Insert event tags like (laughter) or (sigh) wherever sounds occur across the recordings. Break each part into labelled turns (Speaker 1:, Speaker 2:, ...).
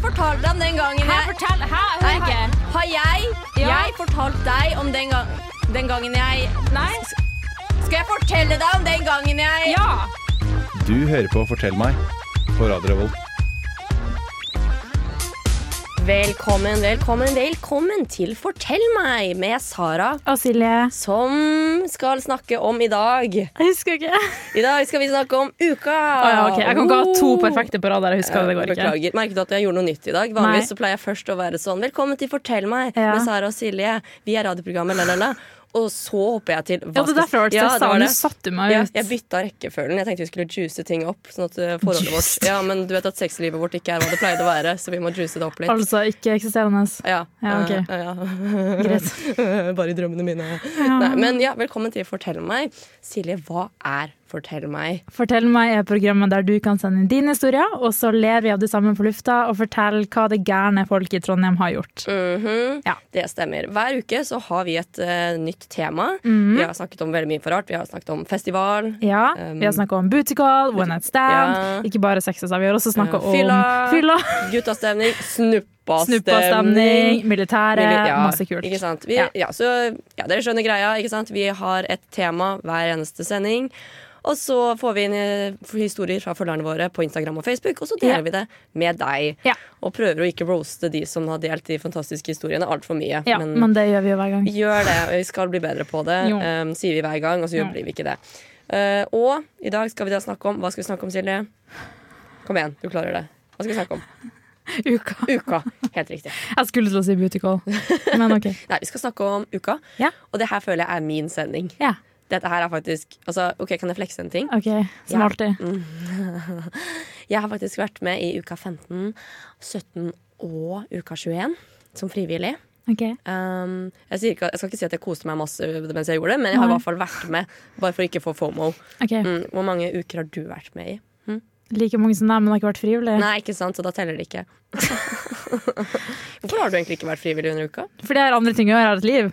Speaker 1: fortalte deg om den gangen
Speaker 2: Hæ,
Speaker 1: jeg
Speaker 2: fortell! Hæ,
Speaker 1: Nei,
Speaker 2: hør ikke.
Speaker 1: har, har jeg,
Speaker 2: Ja.
Speaker 1: jeg fortalt deg om den, gang, den gangen jeg
Speaker 2: Nei?
Speaker 1: Skal jeg fortelle deg om den gangen jeg
Speaker 2: Ja!
Speaker 3: Du hører på Fortell meg på Radio Revolt.
Speaker 1: Velkommen, velkommen, velkommen til Fortell meg med Sara,
Speaker 4: Og Silje.
Speaker 1: som skal snakke om i dag.
Speaker 4: Jeg husker ikke.
Speaker 1: I dag skal vi snakke om uka.
Speaker 4: Å ja, ok. Jeg kan ikke ha to
Speaker 1: Oh.
Speaker 4: perfekte på rad der. Jeg husker det, det går ikke.
Speaker 1: Beklager. Merket du at jeg gjorde noe nytt i dag?
Speaker 4: Nei.
Speaker 1: Vanligvis så pleier jeg først å være sånn Velkommen til Fortell meg
Speaker 4: Ja.
Speaker 1: med Sara og Silje. Vi er radioprogrammet, la, la, la. Og så hopper jeg til
Speaker 4: Ja, det er derfor jeg ble
Speaker 1: Ja, det
Speaker 4: stressa.
Speaker 1: var
Speaker 4: Nå
Speaker 1: det.
Speaker 4: satte du meg
Speaker 1: Ja,
Speaker 4: ut.
Speaker 1: jeg bytta rekkefølgen. Jeg tenkte vi skulle juice ting opp. Sånn at eh, forholdet
Speaker 4: Juice.
Speaker 1: vårt Ja, Men du vet at sexlivet vårt ikke er hva det pleide å være, så vi må juice det opp litt.
Speaker 4: (laughs) Altså ikke-eksisterende.
Speaker 1: Ja,
Speaker 4: Ja, ok.
Speaker 1: eh, ja. (laughs)
Speaker 4: Greit.
Speaker 1: Bare i drømmene mine. Nei, men ja, velkommen til Fortell meg. Silje, hva er Fortell meg?
Speaker 4: Fortell meg er programmet der du kan sende inn dine historier, og så ler vi av det samme på lufta og forteller hva det gærne folk i Trondheim har gjort.
Speaker 1: Mhm.
Speaker 4: Ja.
Speaker 1: Det stemmer. Hver uke så har vi et eh, nytt tema. Vi har snakket om veldig mye for rart. Vi har snakket om festival.
Speaker 4: Ja,
Speaker 1: Um,
Speaker 4: Mhm. Vi har snakka om booty call, one night stand,
Speaker 1: Ja.
Speaker 4: ikke bare sex. altså. Vi har også snakka
Speaker 1: Ja, eh,
Speaker 4: om
Speaker 1: fylla.
Speaker 4: (laughs) fylla,
Speaker 1: Guttastemning, snuppastemning.
Speaker 4: snuppastemning, militæret,
Speaker 1: Mil- ja,
Speaker 4: masse kult.
Speaker 1: Ikke sant? Vi, ja.
Speaker 4: Ja.
Speaker 1: så, ja, dere skjønner greia. Ikke sant? Vi har et tema hver eneste sending. Og så får vi inn eh, historier fra følgerne våre på Instagram og Facebook, og så deler
Speaker 4: Ja.
Speaker 1: vi det med deg.
Speaker 4: Ja.
Speaker 1: Og prøver å ikke roaste de som har delt de fantastiske historiene altfor mye.
Speaker 4: Ja, men, det gjør vi jo
Speaker 1: (laughs)
Speaker 4: hver gang.
Speaker 1: Vi Gjør det, og vi skal bli bedre på det,
Speaker 4: Jo.
Speaker 1: um, sier vi hver gang, og så
Speaker 4: Ja.
Speaker 1: blir vi ikke det. Eh, og i dag skal vi da snakke om Hva skal vi snakke om, Silje? Kom igjen, du klarer det. Hva skal vi snakke om?
Speaker 4: Uka.
Speaker 1: Uka. Helt riktig.
Speaker 4: Jeg skulle til å si booty call, men OK.
Speaker 1: Nei, vi skal snakke om uka,
Speaker 4: Ja.
Speaker 1: og det her føler jeg er min sending.
Speaker 4: Ja,
Speaker 1: Dette her er faktisk altså, Ok, kan jeg flekse en ting?
Speaker 4: ok,
Speaker 1: Ja.
Speaker 4: Som
Speaker 1: Mm.
Speaker 4: alltid.
Speaker 1: Jeg har faktisk vært med i uka 15, 17 og uka 21 som frivillig.
Speaker 4: Ok.
Speaker 1: Um, jeg, sier ikke, jeg skal ikke si at jeg koste meg masse mens jeg gjorde det, men jeg har i
Speaker 4: Nei.
Speaker 1: hvert fall vært med, bare for ikke å få FOMO.
Speaker 4: Ok,
Speaker 1: Mm, hvor mange uker har du vært med i?
Speaker 4: Like mange som deg, men har ikke vært frivillig.
Speaker 1: Nei, ikke sant, så da teller det ikke. (laughs) Hvorfor har du egentlig ikke vært frivillig under uka?
Speaker 4: Fordi jeg har andre ting å gjøre, jeg har et liv.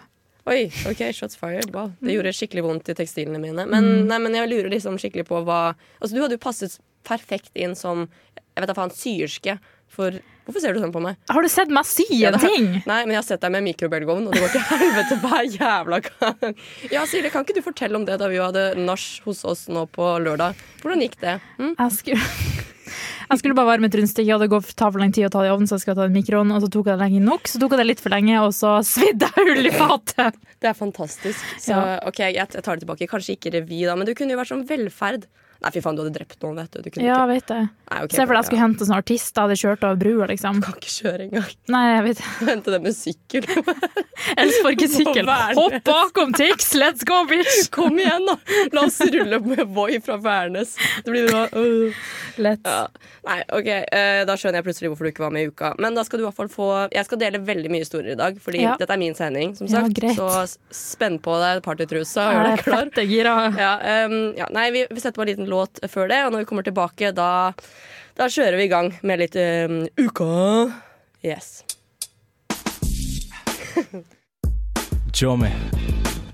Speaker 1: Oi, ok, shots fired. Wow. Det gjorde skikkelig vondt i tekstilene mine. Men, nei, men jeg lurer liksom skikkelig på hva Altså, du hadde jo passet perfekt inn som jeg vet da faen, syerske. For Hvorfor ser du sånn på meg?
Speaker 4: Har du sett meg si
Speaker 1: Ja,
Speaker 4: en
Speaker 1: det-
Speaker 4: ting?
Speaker 1: Nei, men jeg har sett deg med mikrobølgeovn, og det går til (laughs) helvete hver jævla gang. Ja, Silje, kan ikke du fortelle om det da vi hadde nach hos oss nå på lørdag? Hvordan gikk det? Hm?
Speaker 4: Jeg skulle, (laughs) jeg skulle bare varme et rundstykke, og det går tar for lang tid å ta det i ovnen, så jeg skal ta det i mikroen, og så tok jeg det lenge nok, så tok jeg det litt for lenge, og så (laughs) svidde jeg hull i fatet.
Speaker 1: Det er fantastisk. Så
Speaker 4: Ja.
Speaker 1: OK, jeg, jeg tar det tilbake. Kanskje ikke revy, da, men du kunne jo vært sånn velferd. Nei, fy faen, du hadde drept noen, vet du. du kunne
Speaker 4: Ja,
Speaker 1: ikke.
Speaker 4: vet det.
Speaker 1: Nei, ok,
Speaker 4: (laughs) Se for deg jeg
Speaker 1: ja.
Speaker 4: skulle hente sånne artister, jeg hadde kjørt over brua, liksom.
Speaker 1: Kan ikke kjøre engang.
Speaker 4: Nei, jeg vet (laughs) det.
Speaker 1: Hente det med sykkel. (laughs)
Speaker 4: Ellers får jeg ikke
Speaker 1: Må
Speaker 4: sykkel.
Speaker 1: være
Speaker 4: Hopp bakom Tix, let's go, bitch!
Speaker 1: Kom igjen, da! La oss rulle opp med Voi fra Værnes. Det blir bra. Øh.
Speaker 4: Let's.
Speaker 1: Ja. Nei, OK, eh, da skjønner jeg plutselig hvorfor du ikke var med i uka. Men da skal du i hvert fall få Jeg skal dele veldig mye historier i dag, fordi
Speaker 4: Ja.
Speaker 1: dette er min sending, som
Speaker 4: Ja,
Speaker 1: sagt.
Speaker 4: greit.
Speaker 1: så s- spenn på deg partytrusa og gjør
Speaker 4: Jeg
Speaker 1: deg
Speaker 4: er
Speaker 1: klar.
Speaker 4: fette gira.
Speaker 1: Ja, ehm, ja, nei, vi, vi setter på en liten låt før det, og når vi kommer tilbake, da, da kjører vi i gang med litt ehm, Uka. Yes.
Speaker 5: Tjommi,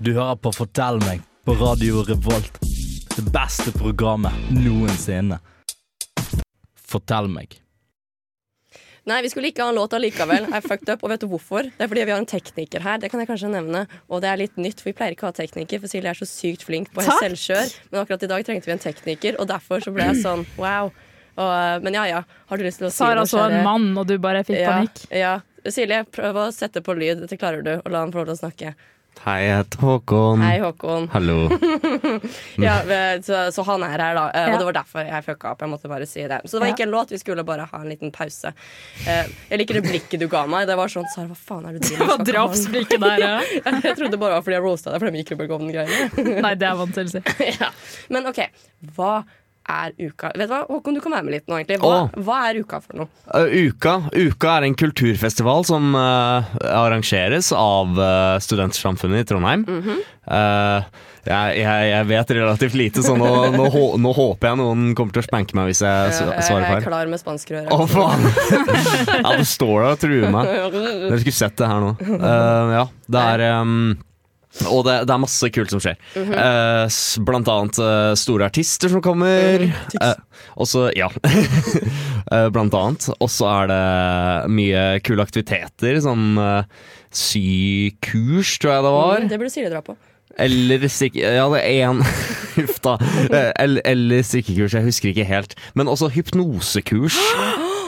Speaker 5: du hører på Fortell meg på Radio Revolt. Det beste programmet noensinne. Fortell meg.
Speaker 1: Nei, vi skulle ikke ha en låt allikevel. I fucked up, og vet du hvorfor? Det er fordi vi har en tekniker her, det kan jeg kanskje nevne. Og det er litt nytt, for vi pleier ikke å ha tekniker, for Silje er så sykt flink på
Speaker 4: Takk!
Speaker 1: selvkjør. Men akkurat i dag trengte vi en tekniker, og derfor så ble jeg sånn wow. Og, eh, men ja ja, har du lyst til å si
Speaker 4: Sara
Speaker 1: noe,
Speaker 4: så en
Speaker 1: kjære-
Speaker 4: mann, og du bare fikk
Speaker 1: Ja,
Speaker 4: (laughs) panikk.
Speaker 1: ja. Silje, prøv å sette på lyd. Dette klarer du. Og la han få lov til å snakke.
Speaker 6: Hei, jeg heter Håkon.
Speaker 1: Hei, Håkon. (laughs)
Speaker 6: Hallo. Mm.
Speaker 1: Ja, men- så, så han er her, da. Eh, Og
Speaker 4: Ja.
Speaker 1: det var derfor jeg fucka opp. Jeg måtte bare si det. Så det var
Speaker 4: Ja.
Speaker 1: ikke en låt, vi skulle bare ha en liten pause. Eh, Jeg liker det blikket du ga meg. Det var sånn Sara, hva faen er det du
Speaker 4: Det
Speaker 1: driver
Speaker 4: var
Speaker 1: med? Skal ikke ha den."
Speaker 4: drapsblikket der, ja.
Speaker 1: (laughs) Jeg trodde bare det var fordi jeg roasta deg for den
Speaker 4: (laughs)
Speaker 1: mikrobølgeovnen-greiene.
Speaker 4: Nei, det er vant til å si.
Speaker 1: ja. Men OK, hva er uka? Vet du hva, Håkon, du kan være med litt nå, egentlig. Hva,
Speaker 6: Å.
Speaker 1: hva er uka for noe?
Speaker 6: Uh, Uka. Uka er en kulturfestival som uh, arrangeres av uh, Studentsamfunnet i Trondheim.
Speaker 1: Mhm.
Speaker 6: uh, jeg, jeg, jeg vet relativt lite, så nå, nå, hå- nå håper jeg noen kommer til å spanke meg hvis jeg
Speaker 1: Jeg,
Speaker 6: s-
Speaker 1: Eh, jeg
Speaker 6: svarer
Speaker 1: er
Speaker 6: feil.
Speaker 1: klar med spanskrøret.
Speaker 6: Å, faen! ja, det står der og truer meg. Dere skulle sett det her nå. Uh, ja, det er um, og det, det er masse kult som skjer. Eh, s- blant annet eh, store artister som kommer. Eh, Og så, ja, (laughs) Eh, blant annet. Og så er det mye kule aktiviteter, sånn eh, sykurs, tror jeg det var.
Speaker 1: Mm, Det burde Silje dra på.
Speaker 6: Eller strikk... Ja, det er (laughs) én Huff da. Eh, Eller, eller strikkekurs, jeg husker ikke helt. Men også hypnosekurs.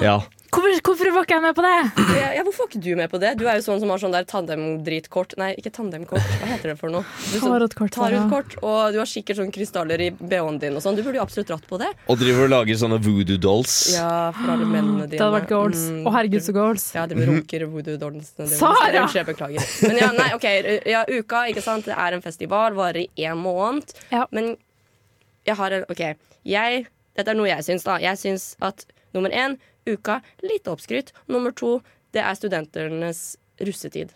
Speaker 6: Ja.
Speaker 4: Hvorfor, hvorfor var ikke jeg med på det?
Speaker 1: Ja, ja, hvorfor er ikke du med på det? Du er jo sånn som har sånn der tandemdritkort. Nei, ikke tandemkort. Hva heter det for
Speaker 4: (laughs)
Speaker 1: noe? Du som
Speaker 4: Tarotkort,
Speaker 1: tar ut
Speaker 4: Sara.
Speaker 1: kort, og du har sikkert sånn krystaller i BH-en din og sånn. Du burde jo absolutt dratt på det.
Speaker 6: Og driver og lager sånne voodoo dolls.
Speaker 1: Ja, for alle mennene
Speaker 4: Det
Speaker 1: dine.
Speaker 4: hadde vært goals. Å,
Speaker 1: Mm,
Speaker 4: herregud, så goals.
Speaker 1: Ja, de runker voodoo-dolsene dine.
Speaker 4: Sara!
Speaker 1: Sorry, Unnskyld, jeg beklager. Men ja, nei, ok, ja, uka, ikke sant. Det er en festival, varer i én måned.
Speaker 4: Ja.
Speaker 1: Men jeg har en OK. Jeg, dette er noe jeg syns, da. Jeg syns at nummer én, uka, litt oppskrytt. Nummer to, det er studentenes russetid.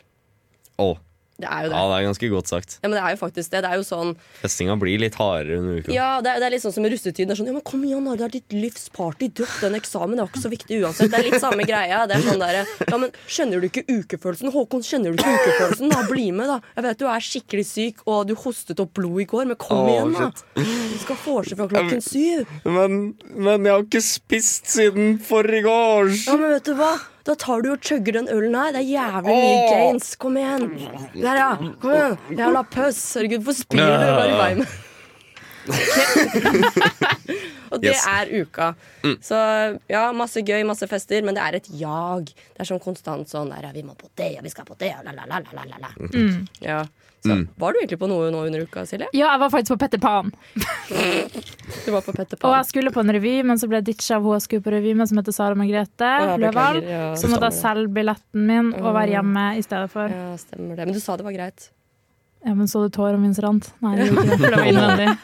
Speaker 6: Å,
Speaker 1: Det er jo det.
Speaker 6: ja, det er ganske godt sagt.
Speaker 1: Ja, men det er jo faktisk det. Det er jo sånn
Speaker 6: Festinga blir litt hardere under uka.
Speaker 1: Ja, det er, det er litt sånn som i russetiden. Det er sånn, ja, men kom igjen, da, det er ditt livs party. Dropp den eksamen, det var ikke så viktig uansett. Det er litt samme greia. Det er sånn der, ja, men Skjønner du ikke ukefølelsen? Håkon, skjønner du ikke ukefølelsen? Da, bli med, da. Jeg vet du er skikkelig syk, og du hostet opp blod i går, men kom
Speaker 6: Åh,
Speaker 1: igjen, da. Du skal vorse fra klokken syv.
Speaker 6: Men, jeg har ikke spist siden forrige års.
Speaker 1: Ja, men vet du hva? Da tar du og chugger den ølen her. Det er jævlig mye
Speaker 6: Åh.
Speaker 1: gains. Kom igjen. Der, ja. Kom igjen. Jævla pøss. Herregud, hvorfor spyr du bare i veien? (laughs) og det
Speaker 6: Yes. Mm.
Speaker 1: er uka. Så ja, masse gøy, masse fester, men det er et jag. Det er sånn konstant sånn der, ja, Vi må på det, og vi skal på det, og la, la, la, la, la, la.
Speaker 6: Mm.
Speaker 1: Ja. Så, Var du egentlig på noe nå under uka, Silje?
Speaker 4: Ja, jeg var faktisk på Petter Pan.
Speaker 1: Du var på Petter
Speaker 4: Og altså-
Speaker 1: Pan.
Speaker 4: jeg skulle på en revy, men så ble jeg ditcha av hun jeg skulle på revy med, som heter Sara Margrethe
Speaker 1: Å, jeg
Speaker 4: Løvahl.
Speaker 1: beklager, ja.
Speaker 4: Så måtte jeg selge billetten min og være hjemme i stedet for.
Speaker 1: Ja, stemmer det. Men du sa det var greit.
Speaker 4: Ja, men så du tårene mine rant? Nei, det gjorde ikke det, for (laughs) det var innvendig.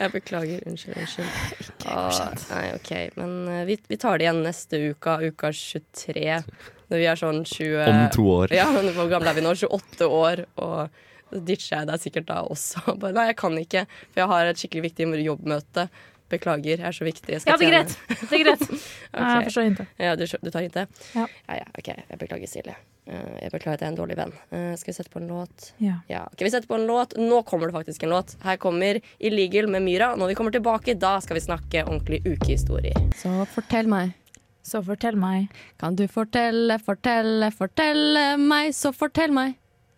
Speaker 1: Jeg beklager. Unnskyld. unnskyld.
Speaker 4: (laughs)
Speaker 1: Ah, nei, ok, Men eh, vi, vi tar det igjen neste uke, uka 23. Når vi er sånn 20
Speaker 6: Om to år.
Speaker 1: Ja, men Hvor gamle er vi nå? 28 år. Og så ditcher jeg deg sikkert da også. (laughs) Bare, nei, jeg kan ikke, for jeg har et skikkelig viktig jobbmøte. Beklager, jeg er så viktig. Jeg skal
Speaker 4: Ja, det er
Speaker 1: tjene.
Speaker 4: greit. Det er greit. (laughs) Nei, Jeg forstår ikke.
Speaker 1: Ja, du, skjø- du tar ikke?
Speaker 4: Ja.
Speaker 1: ja, ja, OK, jeg beklager, Silje. Eh, Jeg beklager at jeg er en dårlig venn. Eh, Skal vi sette på en låt?
Speaker 4: Ja.
Speaker 1: Ja, ok, Vi setter på en låt. Nå kommer det faktisk en låt. Her kommer Illegal med Myra. Når vi kommer tilbake, da skal vi snakke ordentlig ukehistorier.
Speaker 2: Så fortell meg.
Speaker 4: Så fortell meg,
Speaker 2: Kan du fortelle, fortelle, fortelle meg, så fortell meg.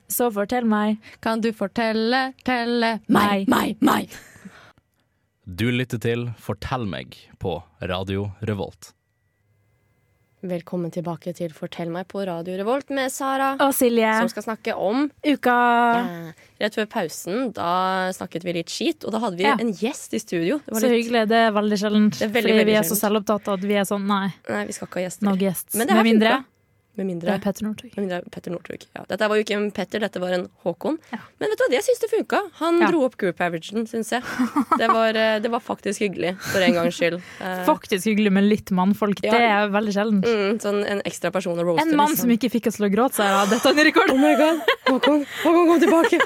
Speaker 4: så fortell meg.
Speaker 2: Kan du fortelle, telle meg, meg, meg.
Speaker 5: Du lytter til Fortell meg på Radio Revolt.
Speaker 1: Velkommen tilbake til Fortell meg på Radio Revolt med Sara,
Speaker 4: Og Silje,
Speaker 1: som skal snakke om
Speaker 4: uka
Speaker 1: eh, Rett før pausen da snakket vi litt skit, og da hadde vi
Speaker 4: Ja.
Speaker 1: en gjest i studio. Det var
Speaker 4: Så
Speaker 1: litt-
Speaker 4: hyggelig. Det er veldig sjeldent.
Speaker 1: Det er veldig,
Speaker 4: Fordi vi
Speaker 1: veldig
Speaker 4: er så
Speaker 1: sjeldent.
Speaker 4: selvopptatt at vi er sånn nei,
Speaker 1: Nei, vi skal ikke ha gjester.
Speaker 4: no guests.
Speaker 1: Men det her
Speaker 4: Med mindre
Speaker 1: funka. Med
Speaker 4: det
Speaker 1: mindre,
Speaker 4: er Petter Northug.
Speaker 1: med mindre Petter Northug. Ja. Dette var jo ikke en Petter, dette var en Håkon. Men vet du hva, jeg syns det funka. Han
Speaker 4: Ja.
Speaker 1: dro opp group averagen, syns jeg. Det var, eh, det var faktisk hyggelig, for en gangs
Speaker 4: (laughs)
Speaker 1: skyld. Eh,
Speaker 4: Faktisk hyggelig med litt mannfolk.
Speaker 1: Ja.
Speaker 4: Det er veldig sjeldent.
Speaker 1: Mm, sånn en ekstra person å roaste. liksom.
Speaker 4: En mann som ikke fikk oss til å gråte, sa jeg. Dette er en rekord.
Speaker 1: Oh my god, Håkon, Håkon kom (laughs) tilbake!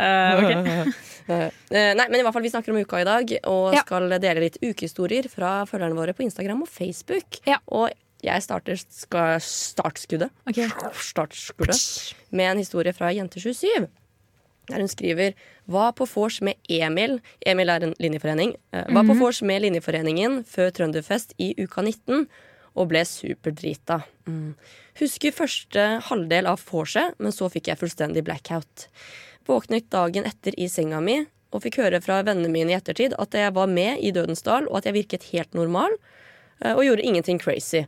Speaker 4: Eh, ok.
Speaker 1: (laughs) Eh, nei, men i hvert fall Vi snakker om uka i dag og
Speaker 4: Ja.
Speaker 1: skal dele litt ukehistorier fra følgerne våre på Instagram og Facebook.
Speaker 4: Ja.
Speaker 1: Og jeg starter skal startskuddet.
Speaker 4: Ok.
Speaker 1: Startskuddet med en historie fra Jente27. Der hun skriver Hva på vors med Emil Emil er en linjeforening. Eh, Hva på vors med linjeforeningen før Trønderfest i uka 19 og ble superdrita. Mm. Husker første halvdel av vorset, men så fikk jeg fullstendig blackout. Våknet dagen etter i senga mi og fikk høre fra vennene mine i ettertid at jeg var med i Dødens dal, og at jeg virket helt normal eh, og gjorde ingenting crazy.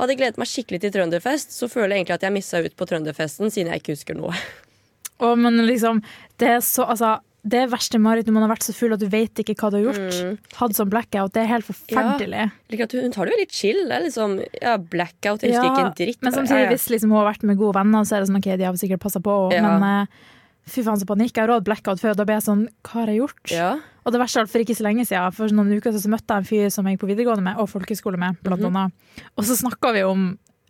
Speaker 1: Hadde gledet meg skikkelig til Trønderfest, så føler jeg egentlig at jeg missa ut på Trønderfesten siden jeg ikke husker noe.
Speaker 4: Å, men liksom, det er så altså, det er verste marerittet man har vært så full at du vet ikke hva du har gjort.
Speaker 1: Mm.
Speaker 4: Hatt sånn blackout, det er helt forferdelig.
Speaker 1: Like at hun, hun tar det jo litt chill. Det er liksom ja, blackout, jeg husker ikke en dritt.
Speaker 4: men samtidig,
Speaker 1: Ja, ja.
Speaker 4: hvis liksom, hun har vært med gode venner, så er det sånn OK, de har sikkert passa på,
Speaker 1: Ja.
Speaker 4: men eh, fy faen så panikk. Jeg har rådd blackout før, og da blir jeg sånn Hva har jeg gjort?
Speaker 1: ja.
Speaker 4: Og det verste av alt, for ikke så lenge siden, for noen uker siden, så møtte jeg en fyr som jeg gikk på videregående med, og folkeskole med, blant
Speaker 1: Mhm.
Speaker 4: annet. Og så snakka vi om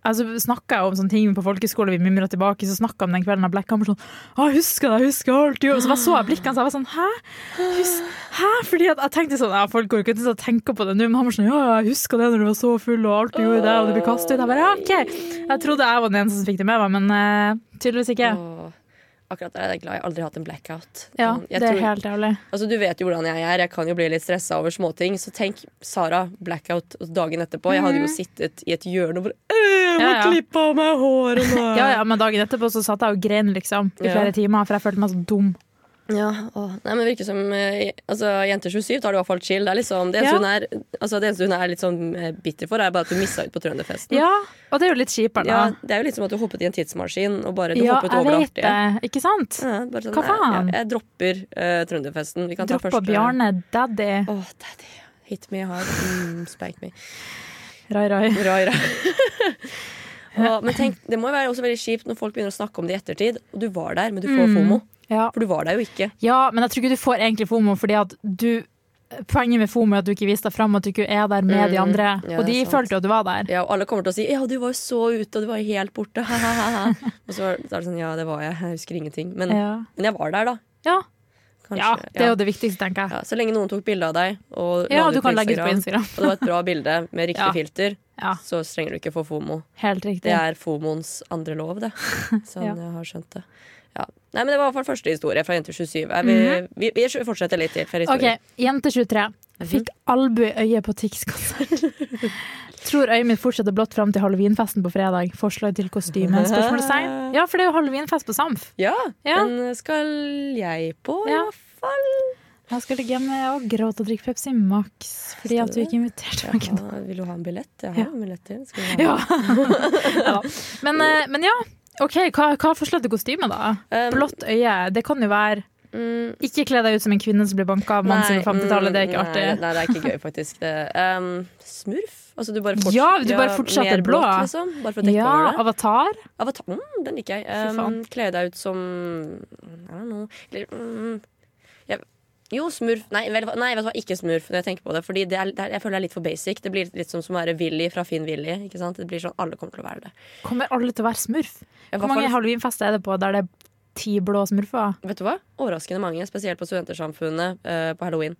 Speaker 4: Altså, snakket jeg om sånne ting på folkeskole, vi mimra tilbake, så snakka om den kvelden av Black Hammer sånn Å, jeg husker det, jeg husker alt, jo. Og så bare så jeg blikkene, så jeg var sånn Hæ? Hus Hæ? Fordi at jeg tenkte sånn Ja, folk går ikke til å tenke på det nå, men han var sånn Ja, ja, jeg husker det når du var så full, og alt du gjorde der, og du ble kastet ut. Jeg bare Ja, OK. Jeg trodde jeg var den eneste som fikk det med meg, men eh, tydeligvis ikke.
Speaker 1: Åh. akkurat der er jeg glad jeg aldri har hatt en blackout.
Speaker 4: Ja,
Speaker 1: Sånn, jeg
Speaker 4: det er
Speaker 1: tror-
Speaker 4: helt jævlig.
Speaker 1: Altså, du vet jo hvordan jeg er. Jeg kan jo bli litt stressa over småting. Så tenk Sara blackout dagen etterpå. Jeg hadde jo sittet i et hjørne og bare «Øh, Jeg må
Speaker 4: Mm. Ja, ja.
Speaker 1: klippe av meg
Speaker 4: (laughs)
Speaker 1: håret nå.
Speaker 4: Ja, ja, men dagen etterpå så satt jeg og grein liksom i
Speaker 1: Ja.
Speaker 4: flere timer, for jeg følte meg så dum.
Speaker 1: Ja, åh. Nei, men det virker som eh, altså, Jenter 27 tar det i hvert fall chill. Det, er liksom, det, eneste
Speaker 4: Ja.
Speaker 1: hun er, altså, det eneste hun er litt sånn eh, bitter for, er bare at du missa ut på Trønderfesten.
Speaker 4: Ja, og det er jo litt kjipere, da.
Speaker 1: Ja, det er jo litt som at du hoppet i en tidsmaskin og bare du
Speaker 4: Ja,
Speaker 1: hoppet
Speaker 4: jeg
Speaker 1: over det
Speaker 4: vet
Speaker 1: artige.
Speaker 4: det. Ikke sant?
Speaker 1: Ja, bare sånn,
Speaker 4: Hva
Speaker 1: nei,
Speaker 4: faen?
Speaker 1: Jeg, jeg dropper eh, Trønderfesten. Vi kan ta
Speaker 4: Droppa
Speaker 1: første
Speaker 4: Bjarne, daddy,
Speaker 1: Åh, daddy. Hit me hard. Mm, spank me.
Speaker 4: rai, rai.
Speaker 1: Rai, rai. (laughs) og, men tenk, det må jo være også veldig kjipt når folk begynner å snakke om det i ettertid, og du var der, men du
Speaker 4: Mm.
Speaker 1: får fomo.
Speaker 4: Ja.
Speaker 1: For du var der jo ikke.
Speaker 4: ja, men jeg tror ikke du får egentlig FOMO, fordi at du Poenget med FOMO er at du ikke viser deg fram, at du ikke er der med de andre.
Speaker 1: Mm. Ja,
Speaker 4: og de
Speaker 1: det er sant.
Speaker 4: følte jo at du var der.
Speaker 1: Ja, og alle kommer til å si 'ja, du var jo så ute, og du var jo helt borte', ha, ha, ha, ha. Og så er det sånn 'ja, det var jeg, jeg husker ingenting'. Men,
Speaker 4: Ja.
Speaker 1: men jeg var der, da.
Speaker 4: Ja.
Speaker 1: Mm. Kanskje.
Speaker 4: ja, det er
Speaker 1: Ja.
Speaker 4: jo det viktigste, tenker jeg.
Speaker 1: Ja, så lenge noen tok bilde av deg og
Speaker 4: Ja,
Speaker 1: la det
Speaker 4: du
Speaker 1: ut på
Speaker 4: kan legge ut
Speaker 1: Instagram,
Speaker 4: på Instagram.
Speaker 1: og det var et bra bilde med riktig
Speaker 4: (laughs) Ja.
Speaker 1: filter,
Speaker 4: Ja,
Speaker 1: så trenger du ikke få fomo.
Speaker 4: helt riktig.
Speaker 1: Det er fomoens andre lov,
Speaker 4: (laughs)
Speaker 1: det. Sånn
Speaker 4: Ja.
Speaker 1: jeg har skjønt det. Ja. Nei, men Det var i hvert fall første historie fra Jenter 27. Er Vi, vi, vi fortsetter litt til. Flere
Speaker 4: Mhm. OK,
Speaker 1: historier.
Speaker 4: jente 23.
Speaker 1: Mhm.
Speaker 4: Fikk albue i øyet på Tix-konsert.
Speaker 1: (laughs)
Speaker 4: Tror øyet mitt fortsetter blått fram til halloweenfesten på fredag. Forslag til kostyme? Spørsmålstegn. Ja, for det er jo halloweenfest på Samf.
Speaker 1: Ja,
Speaker 4: Ja.
Speaker 1: den skal jeg på, i
Speaker 4: Ja.
Speaker 1: hvert fall.
Speaker 4: Jeg skal ligge hjemme og gråte og drikke Pepsi Max fordi at du (laughs) ikke inviterte meg.
Speaker 1: Jaha, vil du ha en billett? Jeg har
Speaker 4: Ja.
Speaker 1: en billett til. Skal du ha?
Speaker 4: (laughs)
Speaker 1: (laughs)
Speaker 4: Ja. Ja. Men, eh, men ja, OK, hva, hva er forslaget til kostyme, da?
Speaker 1: Um,
Speaker 4: Blått øye, det kan jo være
Speaker 1: mm,
Speaker 4: Ikke kle deg ut som en kvinne som blir banka av mannen sin
Speaker 1: nei,
Speaker 4: på 50-tallet, det er ikke
Speaker 1: mm,
Speaker 4: artig.
Speaker 1: Nei, nei, det er ikke gøy,
Speaker 4: (laughs)
Speaker 1: faktisk. Det, um, smurf? Altså, du bare
Speaker 4: Ja, du bare fortsetter
Speaker 1: mer
Speaker 4: blå.
Speaker 1: blått, liksom. Bare for å dekke
Speaker 4: Ja,
Speaker 1: over det.
Speaker 4: avatar.
Speaker 1: Avatar, mm, den liker jeg.
Speaker 4: Fy
Speaker 1: Um,
Speaker 4: faen.
Speaker 1: kle deg ut som I don't know. Eller, mm, jeg, jo, smurf. Nei, vel, nei, vet du hva, ikke smurf når jeg tenker på det. Fordi det er, det er, jeg føler det er litt for basic. Det blir litt som som å være Willy fra Finn Willy. Ikke sant? Det blir sånn, Alle kommer til å være det.
Speaker 4: Kommer alle til å være smurf?
Speaker 1: Ja, hva
Speaker 4: Hvor
Speaker 1: for-
Speaker 4: mange halloweenfester er det på der det er ti blå smurfer?
Speaker 1: Vet du hva? Overraskende mange, spesielt på Studentersamfunnet eh, på halloween.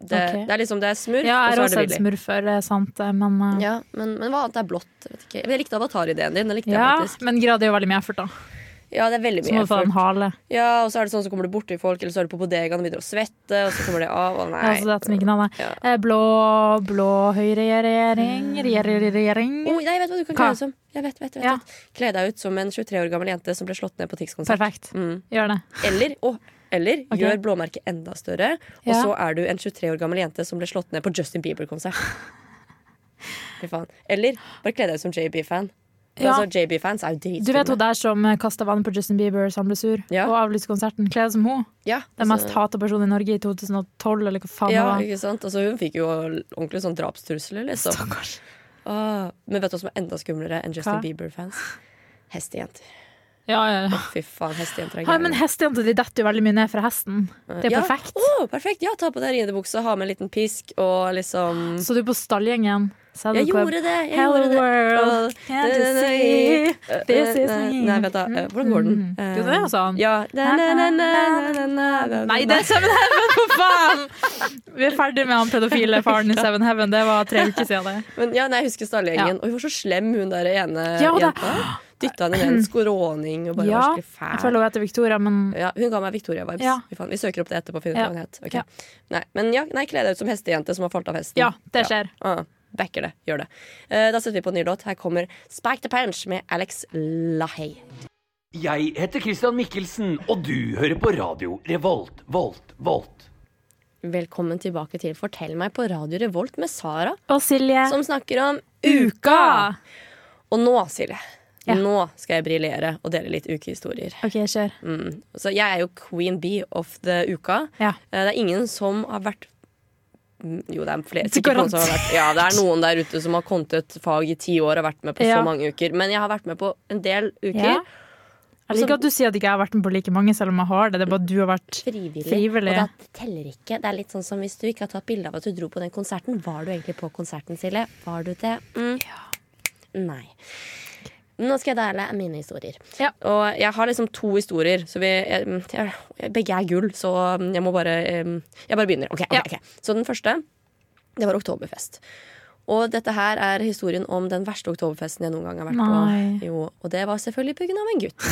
Speaker 1: Det,
Speaker 4: Ok.
Speaker 1: det er liksom, det er smurf,
Speaker 4: Ja, jeg har
Speaker 1: og så
Speaker 4: også
Speaker 1: er
Speaker 4: sett
Speaker 1: det villig.
Speaker 4: smurf før, det er sant, eh, men eh,
Speaker 1: Ja, men, men hva annet er blått? Jeg Vet ikke. Men Jeg likte avatar-ideen din. Den likte
Speaker 4: ja,
Speaker 1: jeg faktisk.
Speaker 4: men grad er jo veldig mye effort, da.
Speaker 1: Ja, det er veldig
Speaker 4: Så
Speaker 1: mye
Speaker 4: må du få en
Speaker 1: effort.
Speaker 4: hale.
Speaker 1: Ja, og så er det sånn så kommer du borti folk, eller så er du på bodegaen og begynner å svette, og så kommer det av. Å nei.
Speaker 4: Altså, det er sminkende, nei.
Speaker 1: Ja. Mm.
Speaker 4: Eh, Blå, blå høyreregjering, regjering
Speaker 1: Oh, nei, jeg vet hva du kan
Speaker 4: Hva?
Speaker 1: kle deg ut som. Jeg vet, vet, vet,
Speaker 4: Ja.
Speaker 1: vet. Kle deg ut som en 23 år gammel jente som ble slått ned på Tix-konsert.
Speaker 4: Perfekt.
Speaker 1: Mm.
Speaker 4: Gjør det.
Speaker 1: Eller, å, eller
Speaker 4: Ok.
Speaker 1: gjør blåmerket enda større, og
Speaker 4: Ja.
Speaker 1: så er du en 23 år gammel jente som ble slått ned på Justin Bieber-konsert. Fy faen. Eller bare kle deg ut som JB-fan. Men
Speaker 4: Ja.
Speaker 1: Altså, JB-fans er jo
Speaker 4: Du vet hun
Speaker 1: dritfine.
Speaker 4: der som kasta vann på Justin Bieber, som ble sur,
Speaker 1: Ja.
Speaker 4: og avlyste konserten? Kle deg som hun.
Speaker 1: Ja,
Speaker 4: Den
Speaker 1: altså-
Speaker 4: mest hata personen i Norge i 2012, eller hva faen det
Speaker 1: ja,
Speaker 4: var.
Speaker 1: ikke sant? Altså, hun fikk jo ordentlig sånn drapstrusler, liksom. Åh, men vet du hva som er enda skumlere enn Justin
Speaker 4: Hva?
Speaker 1: Bieber-fans? Hestejenter.
Speaker 4: Ja, ja, ja.
Speaker 1: Fy faen, hestejenter er
Speaker 4: Ja, men
Speaker 1: gærne.
Speaker 4: hestejenta di detter jo veldig mye ned fra hesten. Det er
Speaker 1: Ja. Oh!
Speaker 4: perfekt.
Speaker 1: Å, perfekt! Ja, ta på deg ridebuksa, ha med en liten pisk og liksom
Speaker 4: Så du på stallgjengen sa du
Speaker 1: Jeg
Speaker 4: på-
Speaker 1: gjorde det! Jeg
Speaker 4: Hello
Speaker 1: gjorde det.
Speaker 4: world,
Speaker 1: Og-
Speaker 4: can't you see? This is me.
Speaker 1: Nei, vent da. eh, Hvordan går den? Eh,
Speaker 4: Jo, det er jo sånn.
Speaker 1: Ja. Na, na, na, na, na, na, na,
Speaker 4: Nei, det er Seven Heaven, for faen! Vi er ferdig med han pedofile faren i Seven Heaven. Det var tre uker siden. det.
Speaker 1: Men ja, nei, jeg husker stallgjengen. Og hun var så slem, hun der ene
Speaker 4: Ja, det-
Speaker 1: jenta. Dytta henne
Speaker 4: (clears throat)
Speaker 1: ned en skråning og bare
Speaker 4: Ja,
Speaker 1: var skikkelig
Speaker 4: Jeg
Speaker 1: fæl.
Speaker 4: føler hun heter Victoria, men
Speaker 1: Ja, hun ga meg Victoria-vibes.
Speaker 4: Ja.
Speaker 1: Fy faen, Vi søker opp det etterpå. og finner ut hva
Speaker 4: Ja.
Speaker 1: hun het. Ok.
Speaker 4: Ja.
Speaker 1: Nei, men ja, nei, kle deg ut som hestejente som har falt av hesten.
Speaker 4: ja, det skjer.
Speaker 1: Ah, backer det. Gjør det. Eh, da setter vi på en ny låt. Her kommer Spike the Punch med Alex Lahey.
Speaker 7: Jeg heter Christian Mikkelsen, og du hører på radio Revolt, Volt, Volt.
Speaker 1: Velkommen tilbake til Fortell meg på Radio Revolt med Sara,
Speaker 4: Og Silje.
Speaker 1: som snakker om
Speaker 4: Uka!
Speaker 1: Og nå, Silje,
Speaker 4: Ja.
Speaker 1: nå skal jeg briljere og dele litt ukehistorier.
Speaker 4: OK, kjør.
Speaker 1: Mm. Så jeg er jo queen bee of the uka.
Speaker 4: Ja.
Speaker 1: Eh, Det er ingen som har vært Mm, Jo, det er flere.
Speaker 4: Så
Speaker 1: Sikkert noen som har vært, ja, det er noen der ute som har kommet et fag i ti år og vært med på
Speaker 4: Ja.
Speaker 1: så mange uker. Men jeg har vært med på en del uker.
Speaker 4: Ja. Jeg liker
Speaker 1: Altså-
Speaker 4: at du sier at ikke jeg har vært med på like mange, selv om jeg har det. Det er bare at du har vært
Speaker 1: Frivillig.
Speaker 4: Frivillig.
Speaker 1: Og det teller ikke. Det er litt sånn som hvis du ikke har tatt bilde av at du dro på den konserten. Var du egentlig på konserten, Silje? Var du det? Mm. Nei. Nå skal jeg dele mine historier.
Speaker 4: Ja.
Speaker 1: Og jeg har liksom to historier. Så vi, jeg, jeg, begge er gull, så jeg må bare em, Jeg bare begynner. Ok, ok,
Speaker 4: Ja.
Speaker 1: ok. Så den første, det var Oktoberfest. Og dette her er historien om den verste oktoberfesten jeg noen gang har vært
Speaker 4: Nei.
Speaker 1: på. Jo, og det var selvfølgelig pga. en gutt.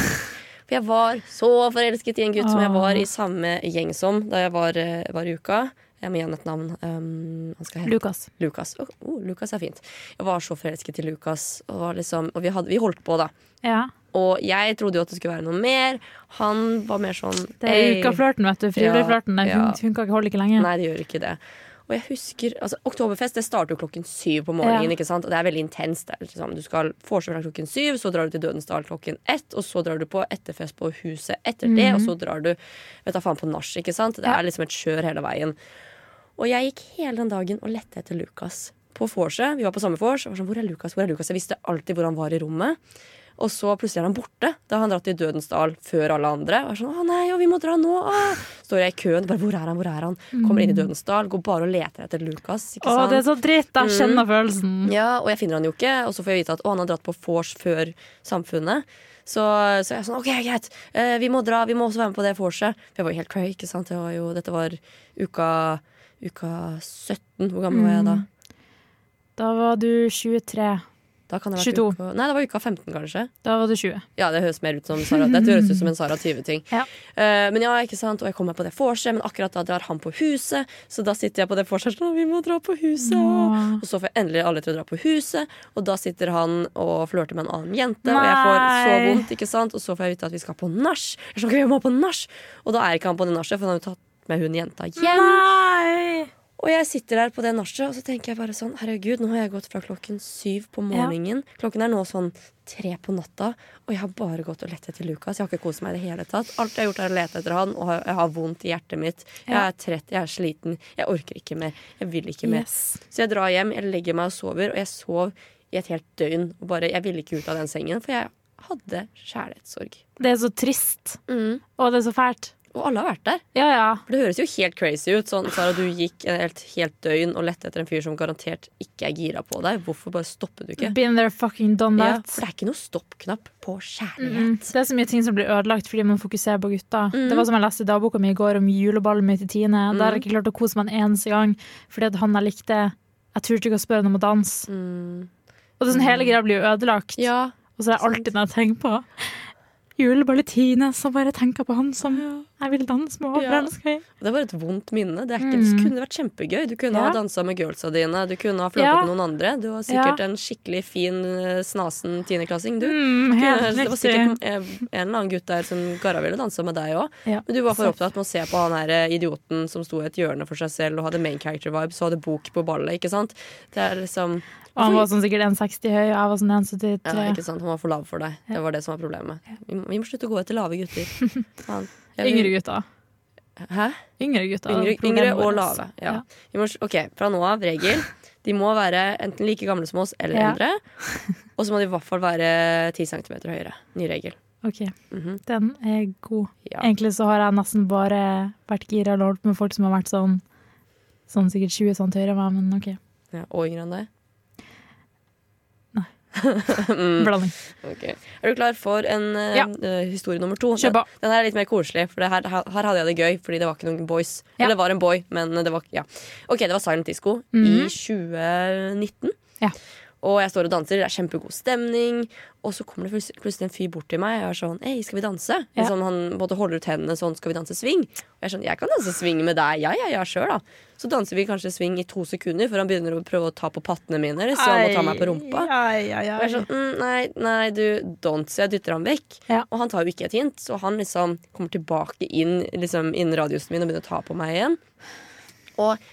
Speaker 1: For jeg var så forelsket i en gutt som jeg var i
Speaker 4: Ah.
Speaker 1: samme gjeng som da jeg var, eh, var i uka. Jeg må gi han et navn. Um, han skal hete
Speaker 4: Lukas.
Speaker 1: Lukas. Å, oh, Lukas er fint. Jeg var så forelsket i Lukas, og, var liksom, og vi, hadde, vi holdt på, da.
Speaker 4: Ja.
Speaker 1: Og jeg trodde jo at det skulle være noe mer. Han var mer sånn
Speaker 4: Det er
Speaker 1: «Ei».
Speaker 4: ukaflørten, vet du. Frivilligflørten. Den
Speaker 1: Ja.
Speaker 4: fun- funka ikke, holder ikke lenge.
Speaker 1: Nei, det gjør ikke det. Og jeg husker, altså Oktoberfest det starter jo klokken syv på morgenen.
Speaker 4: Ja.
Speaker 1: ikke sant? Og det er veldig intenst. Det er liksom, du skal vorse fra klokken syv, så drar du til Dødens Dal klokken ett, og så drar du på etterfest på huset etter det, og så drar du vet da faen på nach. ikke sant? Det
Speaker 4: Mhm. Ja.
Speaker 1: er liksom et kjør hele veien. Og jeg gikk hele den dagen og lette etter Lukas på vorset. Vi var på samme vors. Jeg var Sånn, hvor er Lukas? Hvor er Lukas? Jeg visste alltid hvor han var i rommet. Og så plutselig er han borte. Da har han dratt til Dødens dal før alle andre. Og er sånn, å nei, å, vi må dra nå. Å. Står jeg i køen, bare hvor er han, hvor er han? Kommer inn i Dødens dal, går bare og leter etter Lukas. ikke
Speaker 4: Mm. Å,
Speaker 1: sant? Mm.
Speaker 4: det er så dritt! Jeg kjenner følelsen.
Speaker 1: Ja, og jeg finner han jo ikke, og så får jeg vite at å, han har dratt på vors før samfunnet. Så, så jeg er sånn, ok, greit, eh, vi må dra, vi må også være med på det vorset. For jeg var jo helt cray, ikke sant. Det var jo, dette var uka, uka 17, hvor gammel var jeg da?
Speaker 4: Da var du 23.
Speaker 1: Da kan det ha vært
Speaker 4: 22.
Speaker 1: Uka, nei, det var uka 15, kanskje.
Speaker 4: Da var du 20.
Speaker 1: Ja, det høres mer ut som Sara Dette høres ut som en Sara 20-ting.
Speaker 4: Ja.
Speaker 1: Eh, men ja, ikke sant, og jeg kommer på det vorset, men akkurat da drar han på huset, så da sitter jeg på det vorset sånn, vi må dra på huset. Og så får jeg endelig alle til å dra på huset, og da sitter han og flørter med en annen jente, og jeg får så
Speaker 4: Nei.
Speaker 1: vondt, ikke sant, og så får jeg vite at vi skal på nach. Jeg er sånn, «Ok, vi må på nach. Og da er ikke han på det nachet, for han har jo tatt med hun jenta hjem.
Speaker 4: Nei!
Speaker 1: Og jeg sitter der på det nachet, og så tenker jeg bare sånn Herregud, nå har jeg gått fra klokken syv på morgenen. Klokken er nå sånn tre på natta, og jeg har bare gått og lett etter Lukas. Jeg har ikke kost meg i det hele tatt. Alt jeg har gjort, er å lete etter han, og jeg har vondt i hjertet mitt. Jeg
Speaker 4: Ja.
Speaker 1: er trett, jeg er sliten. Jeg orker ikke mer. Jeg vil ikke mer.
Speaker 4: Yes.
Speaker 1: Så jeg drar hjem, jeg legger meg og sover, og jeg sov i et helt døgn. Og bare, jeg ville ikke ut av den sengen, for jeg hadde kjærlighetssorg.
Speaker 4: Det er så trist.
Speaker 1: Mm.
Speaker 4: Og det er så fælt.
Speaker 1: Og alle har vært der.
Speaker 4: Ja, ja.
Speaker 1: For det høres jo helt crazy ut. Sånn, Sara, du gikk et helt, helt døgn og lette etter en fyr som garantert ikke er gira på deg. Hvorfor bare stopper du ikke?
Speaker 4: Been there, fucking done
Speaker 1: Ja,
Speaker 4: that.
Speaker 1: for det er ikke noe stoppknapp på kjærlighet.
Speaker 4: Mm. Det er så mye ting som blir ødelagt fordi man fokuserer på gutta.
Speaker 1: Mm.
Speaker 4: Det var som jeg leste i dagboka mi i går om juleballen min til Tine. Der har jeg ikke klart å kose meg en eneste gang fordi at han jeg likte Jeg turte ikke å spørre han om å danse. Og det er sånn hele greia blir jo ødelagt.
Speaker 1: Mm. Ja,
Speaker 4: Og så er det alltid når jeg tenker på juleball i Tine, så bare tenker jeg på han som jeg vil danse med og
Speaker 1: Ja.
Speaker 4: forelske i.
Speaker 1: og Det var et vondt minne. Det, er ikke, det kunne vært kjempegøy. Du kunne
Speaker 4: Mm. Ja.
Speaker 1: ha dansa med girlsa dine. Du kunne ha flørta
Speaker 4: Ja.
Speaker 1: med noen andre. Du var sikkert
Speaker 4: Ja.
Speaker 1: en skikkelig fin, eh, snasen tiendeklassing, du.
Speaker 4: Mm,
Speaker 1: Kunne-
Speaker 4: helt
Speaker 1: Det var
Speaker 4: riktig.
Speaker 1: sikkert eh, en eller annen gutt der som garra ville dansa med deg òg.
Speaker 4: Ja.
Speaker 1: Men du var for opptatt med å se på han her eh, idioten som sto i et hjørne for seg selv og hadde main character vibes og hadde bok på ballet, ikke sant? Det er liksom
Speaker 4: Og han var sånn sikkert 1,60 høy, og jeg var sånn 1,73.
Speaker 1: ja, ikke sant? Han var for lav for deg. Det var det som var problemet. Vi må, vi må slutte å gå etter lave
Speaker 4: (laughs)
Speaker 1: gutter. Faen. Jeg vil-
Speaker 4: Yngre gutter.
Speaker 1: Hæ?
Speaker 4: Yngre gutter.
Speaker 1: Yngre,
Speaker 4: Problemet
Speaker 1: yngre og
Speaker 4: vårt.
Speaker 1: lave. Ja. Vi må, s- ok, Fra nå av, regel. De må være enten like gamle som oss eller
Speaker 4: Ja. (laughs)
Speaker 1: eldre. Og så må de i hvert fall være 10 cm høyere. Ny regel. Mhm.
Speaker 4: Ok, den er god.
Speaker 1: Ja.
Speaker 4: Egentlig så har jeg nesten bare vært gira og holdt med folk som har vært sånn Sånn sikkert 20 sånn høyere enn meg, men OK.
Speaker 1: Ja, og yngre enn deg. Mm.
Speaker 4: Blanding.
Speaker 1: Ok. Er du klar for en eh,
Speaker 4: Ja.
Speaker 1: eh, historie nummer to?
Speaker 4: Kjør på.
Speaker 1: Den, den er litt mer koselig, for det her, her her hadde jeg det gøy. Fordi det var ikke noen boys.
Speaker 4: Ja.
Speaker 1: Eller det var en boy, men det var ja. Ok, det var Silent Disco i 2019.
Speaker 4: Mhm. Ja.
Speaker 1: Og jeg står og danser, det er kjempegod stemning. Og så kommer det plutselig- plutselig en fyr bort til meg og er sånn Hei, skal vi danse?
Speaker 4: Ja.
Speaker 1: Liksom, han både holder ut hendene sånn, skal vi danse swing? Og jeg er sånn, jeg kan danse swing med deg, ja, ja, ja, sjøl, da. Så danser vi kanskje swing i to sekunder før han begynner å prøve å ta på pattene mine. Så han må ta meg på rumpa.
Speaker 4: Ai, ai, ai.
Speaker 1: Og jeg er sånn, mm, nei, nei, du, don't, så jeg dytter han vekk.
Speaker 4: Ja.
Speaker 1: Og han tar jo ikke et hint, så han liksom kommer tilbake inn liksom, innen radiusen min og begynner å ta på meg igjen. Og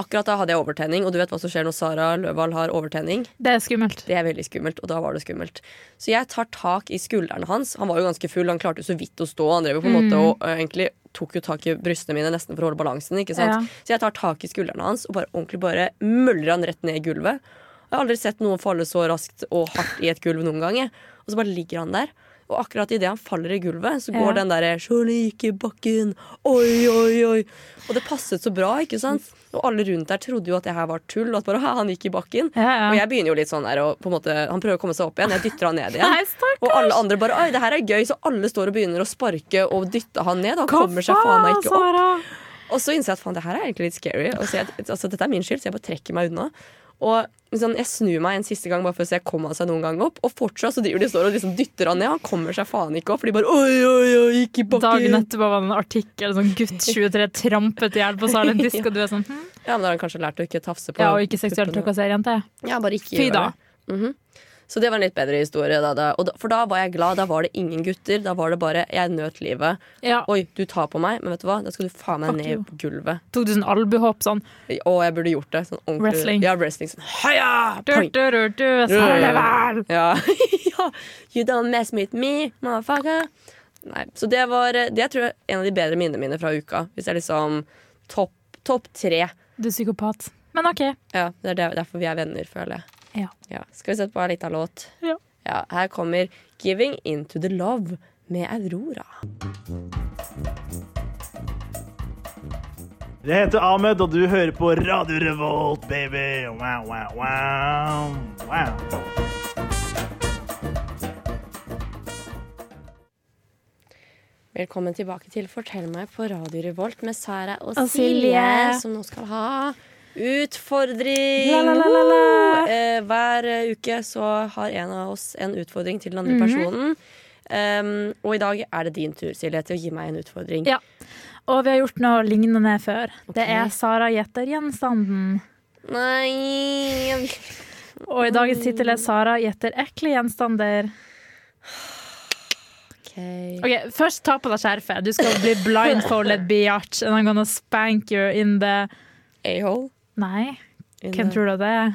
Speaker 1: akkurat da hadde jeg overtenning, og du vet hva som skjer når Sara Løvahl har overtenning?
Speaker 4: Det er skummelt.
Speaker 1: Det er veldig skummelt, og da var det skummelt. Så jeg tar tak i skuldrene hans. Han var jo ganske full, han klarte jo så vidt å stå. Han drev jo på en måte
Speaker 4: Mm.
Speaker 1: og ø, egentlig tok jo tak i brystene mine nesten for å holde balansen. ikke sant?
Speaker 4: Ja.
Speaker 1: Så jeg tar tak i skuldrene hans og bare ordentlig bare møller han rett ned i gulvet. Jeg har aldri sett noen falle så raskt og hardt i et gulv noen gang. jeg. Og så bare ligger han der. Og akkurat idet han faller i gulvet, så går
Speaker 4: Ja.
Speaker 1: den derre 'Sjåli gikk i bakken', oi, oi, oi. Og det passet så bra, ikke sant? Og alle rundt der trodde jo at det her var tull. At bare, «Hæ, han gikk i bakken.
Speaker 4: Ja, ja.
Speaker 1: Og jeg begynner jo litt sånn der, og på en måte, Han prøver å komme seg opp igjen, jeg dytter han ned
Speaker 4: Nei,
Speaker 1: igjen. Og
Speaker 4: stakkars!
Speaker 1: alle andre bare 'oi, det her er gøy', så alle står og begynner å sparke og dytte han ned. Han kommer seg faen meg ikke opp.
Speaker 4: Sara?
Speaker 1: Og så innser jeg at faen, det her er egentlig litt scary. Og så jeg, altså, dette er min skyld, så jeg bare trekker meg unna. Og liksom, jeg snur meg en siste gang bare for å se kom han seg noen gang opp. Og fortsatt så driver de og står og liksom dytter han ned. Han kommer seg faen ikke opp, for de bare oi, oi, oi, gikk i bakken.
Speaker 4: Dagen etterpå var det en artikkel sånn 'Gutt 23 trampet i hjel på Sarlendisk', og du er sånn hm?
Speaker 1: (laughs) Ja, men da har han kanskje lært å ikke tafse på
Speaker 4: Ja, og ikke seksuelt
Speaker 1: puppene.
Speaker 4: trakassere jenter.
Speaker 1: Ja, bare ikke
Speaker 4: Fy
Speaker 1: gjør
Speaker 4: da.
Speaker 1: det. Mhm. Så det var en litt bedre historie. Da, da. Og da, for da var jeg glad. Da var det ingen gutter. Da var det bare jeg nøt livet.
Speaker 4: Ja,
Speaker 1: Oi, du tar på meg, men vet du hva? Da skal du faen meg
Speaker 4: Fuck you.
Speaker 1: ned på gulvet.
Speaker 4: tok du sånn albuehopp sånn
Speaker 1: Å, jeg burde gjort det. Sånn ordentlig.
Speaker 4: Wrestling.
Speaker 1: Ja, wrestling. Sånn, Heia!
Speaker 4: du,
Speaker 1: Poing.
Speaker 4: du, du, du, Sarlevel!
Speaker 1: (laughs) Ja. ja. You don't mess with me, motherfucker. Nei, så det var eh, Det tror jeg er en av de bedre minnene mine fra uka. Hvis jeg liksom topp topp tre.
Speaker 4: Du er psykopat. Men OK.
Speaker 1: Ja, det er der- derfor vi er venner, føler jeg.
Speaker 4: Ja.
Speaker 1: Skal vi sette på en liten låt?
Speaker 4: Ja.
Speaker 1: Ja, her kommer 'Giving Into The Love' med Aurora.
Speaker 8: Jeg heter Ahmed, og du hører på Radio Revolt, baby. Wow, wow, wow. wow.
Speaker 1: Velkommen tilbake til Fortell meg på Radio Revolt med Sara og,
Speaker 4: Og Silje.
Speaker 1: Silje, som nå skal ha utfordring.
Speaker 4: La, la, la, la, la.
Speaker 1: Eh, hver eh, uke så har en av oss en utfordring til den
Speaker 4: Mhm.
Speaker 1: andre personen. Um, og i dag er det din tur, Silje, til å gi meg en utfordring.
Speaker 4: Ja. Og vi har gjort noe lignende før. Det
Speaker 1: Ok.
Speaker 4: er Sara gjetter gjenstanden.
Speaker 1: Nei jeg vil-
Speaker 4: Og i dagens tittel er Sara gjetter ekle gjenstander.
Speaker 1: Ok.
Speaker 4: Ok, Først ta på deg skjerfet. Du skal bli (laughs) blindfolded, biatch. And I'm gonna spank you in the
Speaker 1: A-hole.
Speaker 4: Nei,
Speaker 1: in
Speaker 4: hvem
Speaker 1: the-
Speaker 4: tror du det er?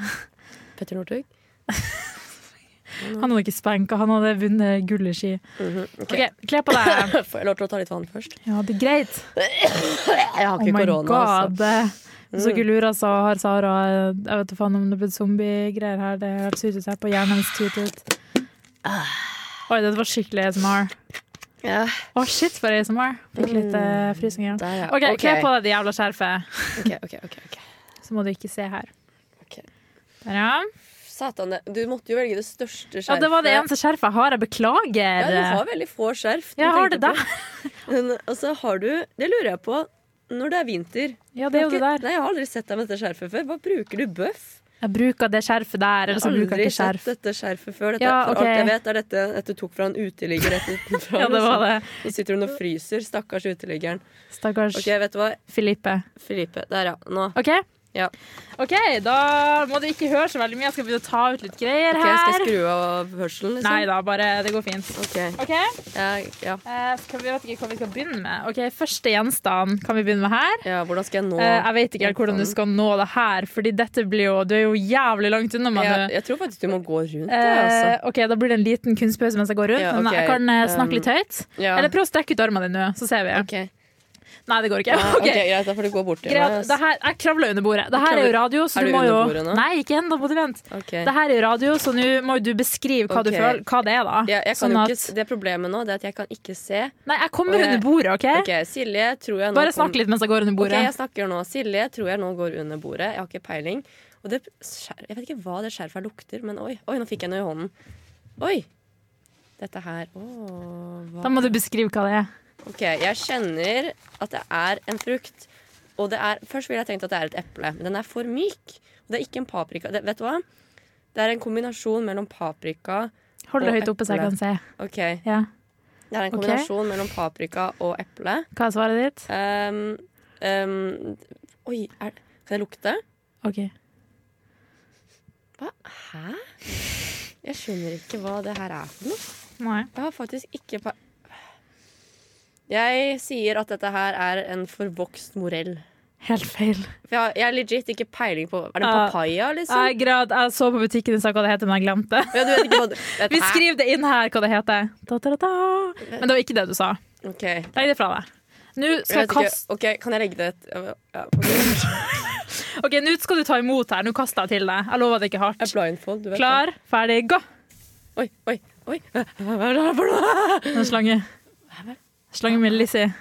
Speaker 1: Petter Northug. (laughs)
Speaker 4: Han hadde ikke spanka, han hadde vunnet gull i ski. Mhm, Ok, Kle på (laughs) deg.
Speaker 1: Får jeg lov til å ta litt vann først? (laughs)
Speaker 4: Ja, det er greit.
Speaker 1: Jeg har
Speaker 4: Oh
Speaker 1: ikke
Speaker 4: my
Speaker 1: korona, altså. Mm.
Speaker 4: god. Så gulura så har Sara Jeg vet da faen om det er blitt zombiegreier her. Det har sut ut her på hjernen hennes tut ut.
Speaker 1: Ah.
Speaker 4: Oi, det var skikkelig ASMR.
Speaker 1: Ja,
Speaker 4: Å, shit for ASMR. Fikk litt eh, frysninger.
Speaker 1: Mm, der, ja.
Speaker 4: OK, kle på deg det jævla skjerfet,
Speaker 1: Ok, ok, ok, ok.
Speaker 4: så må du ikke se her.
Speaker 1: Ok.
Speaker 4: Der, ja.
Speaker 1: Satan, det- du måtte jo velge det største skjerfet.
Speaker 4: ja, det var det eneste skjerfet jeg har. Jeg beklager.
Speaker 1: Ja, du har veldig få skjerf. Du
Speaker 4: Jeg har det
Speaker 1: tenkte
Speaker 4: der.
Speaker 1: på- Men, og så har du Det lurer jeg på. Når det er vinter
Speaker 4: Ja, det er jo det der.
Speaker 1: Nei, Jeg har aldri sett deg med dette skjerfet før. Hva bruker du bøff?
Speaker 4: Jeg bruker det skjerfet der, eller så Altså, bruker jeg
Speaker 1: aldri
Speaker 4: ikke skjerf.
Speaker 1: sett dette skjerfet før. Dette,
Speaker 4: Ja,
Speaker 1: er- For
Speaker 4: ok.
Speaker 1: alt jeg vet, er dette at du tok fra en uteligger rett
Speaker 4: (laughs)
Speaker 1: utenfra.
Speaker 4: Ja, det var det.
Speaker 1: Så sitter hun og fryser. Stakkars uteliggeren.
Speaker 4: Stakkars
Speaker 1: Ok, vet du hva?
Speaker 4: Filippe.
Speaker 1: Filipe. Der, ja. Nå.
Speaker 4: OK?
Speaker 1: Ja.
Speaker 4: Ok, Da må du ikke høre så veldig mye. Jeg skal begynne å ta ut litt greier
Speaker 1: Ok, skal
Speaker 4: her.
Speaker 1: jeg skru av hørselen, liksom?
Speaker 4: Nei da, bare det går fint.
Speaker 1: Ok.
Speaker 4: OK,
Speaker 1: Jeg, ja.
Speaker 4: eh, skal vi vet ikke hva vi skal begynne med. Ok, Første gjenstand kan vi begynne med her.
Speaker 1: ja, hvordan skal jeg nå
Speaker 4: Eh, jeg vet ikke helt hvordan du skal nå det her, Fordi dette blir jo Du er jo jævlig langt unna, Manu.
Speaker 1: jeg, jeg tror faktisk du må gå rundt det, altså.
Speaker 4: Eh, ok, Da blir det en liten kunstpause mens jeg går rundt.
Speaker 1: Ja,
Speaker 4: Men
Speaker 1: ok,
Speaker 4: jeg kan eh,
Speaker 1: um,
Speaker 4: snakke litt høyt.
Speaker 1: Ja.
Speaker 4: Eller prøv å strekke ut armen din nå, så ser vi.
Speaker 1: Ok.
Speaker 4: Nei, det går ikke.
Speaker 1: Ja,
Speaker 4: (laughs) Ok,
Speaker 1: ok, Greit, da får du gå bort til
Speaker 4: Greit,
Speaker 1: meg.
Speaker 4: det her, jeg kravla under bordet. Det her er jo radio, så
Speaker 1: Er
Speaker 4: du
Speaker 1: du
Speaker 4: må jo
Speaker 1: under bordet nå?
Speaker 4: Nei, ikke ennå, må du vente.
Speaker 1: Ok.
Speaker 4: Det her er jo radio, så nå må jo du beskrive hva du
Speaker 1: Ok.
Speaker 4: føler, hva det er, da.
Speaker 1: Ja, jeg kan
Speaker 4: Sånn
Speaker 1: jo
Speaker 4: at-
Speaker 1: ikke, det problemet nå det er at jeg kan ikke se.
Speaker 4: Nei, jeg kommer
Speaker 1: Og jeg-
Speaker 4: under bordet, OK?
Speaker 1: Ok, Silje tror jeg nå
Speaker 4: Bare snakk litt mens jeg går under
Speaker 1: Ok,
Speaker 4: bordet.
Speaker 1: jeg snakker nå. Silje tror jeg nå går under bordet. Jeg har ikke peiling. Og det, skjer- jeg vet ikke hva det skjerfet her lukter, men oi, oi, nå fikk jeg noe i hånden. Oi! Dette her Åh,
Speaker 4: Da
Speaker 1: hva
Speaker 4: må du beskrive hva det er.
Speaker 1: Ok, jeg kjenner at det er en frukt. Og det er, først ville jeg tenkt at det er et eple, men den er for myk. Og det er ikke en paprika. Det, vet du hva? Det er en kombinasjon mellom paprika
Speaker 4: Hold det
Speaker 1: Og
Speaker 4: høyt oppe, så jeg
Speaker 1: eple.
Speaker 4: kan se.
Speaker 1: Ok, det
Speaker 4: Ja.
Speaker 1: er en
Speaker 4: Ok.
Speaker 1: kombinasjon mellom paprika og eple.
Speaker 4: Hva er svaret ditt?
Speaker 1: Um, um, oi, er, kan jeg lukte?
Speaker 4: OK.
Speaker 1: Hva? Hæ? Jeg skjønner ikke hva det her er for noe.
Speaker 4: Nei.
Speaker 1: Jeg har faktisk ikke pa... Jeg sier at dette her er en forvokst morell.
Speaker 4: Helt feil.
Speaker 1: For jeg, har- jeg har legit ikke peiling på Er det
Speaker 4: Ja.
Speaker 1: papaya, liksom?
Speaker 4: Jeg, grad, jeg så på butikken og sa hva det heter, men jeg glemte.
Speaker 1: (laughs) Ja, du vet ikke hva det vet,
Speaker 4: (laughs) Vi skriver det inn her hva det heter. Da, da, da, da. Men det var ikke det du sa.
Speaker 1: Hæ? Ok.
Speaker 4: Legg det fra deg. Nå
Speaker 1: Jeg
Speaker 4: skal jeg
Speaker 1: vet ikke.
Speaker 4: kaste
Speaker 1: OK, kan jeg legge det et ja, ok. (laughs)
Speaker 4: Ok, nå skal du ta imot her. Nå kaster jeg til deg. Jeg lover det ikke er
Speaker 1: Jeg er
Speaker 4: hardt.
Speaker 1: blindfold, du vet
Speaker 4: Klar, ferdig, gå!
Speaker 1: det. Oi, oi, oi. (laughs) Hva er det her for noe?
Speaker 4: En slange. Slange med Lizzie.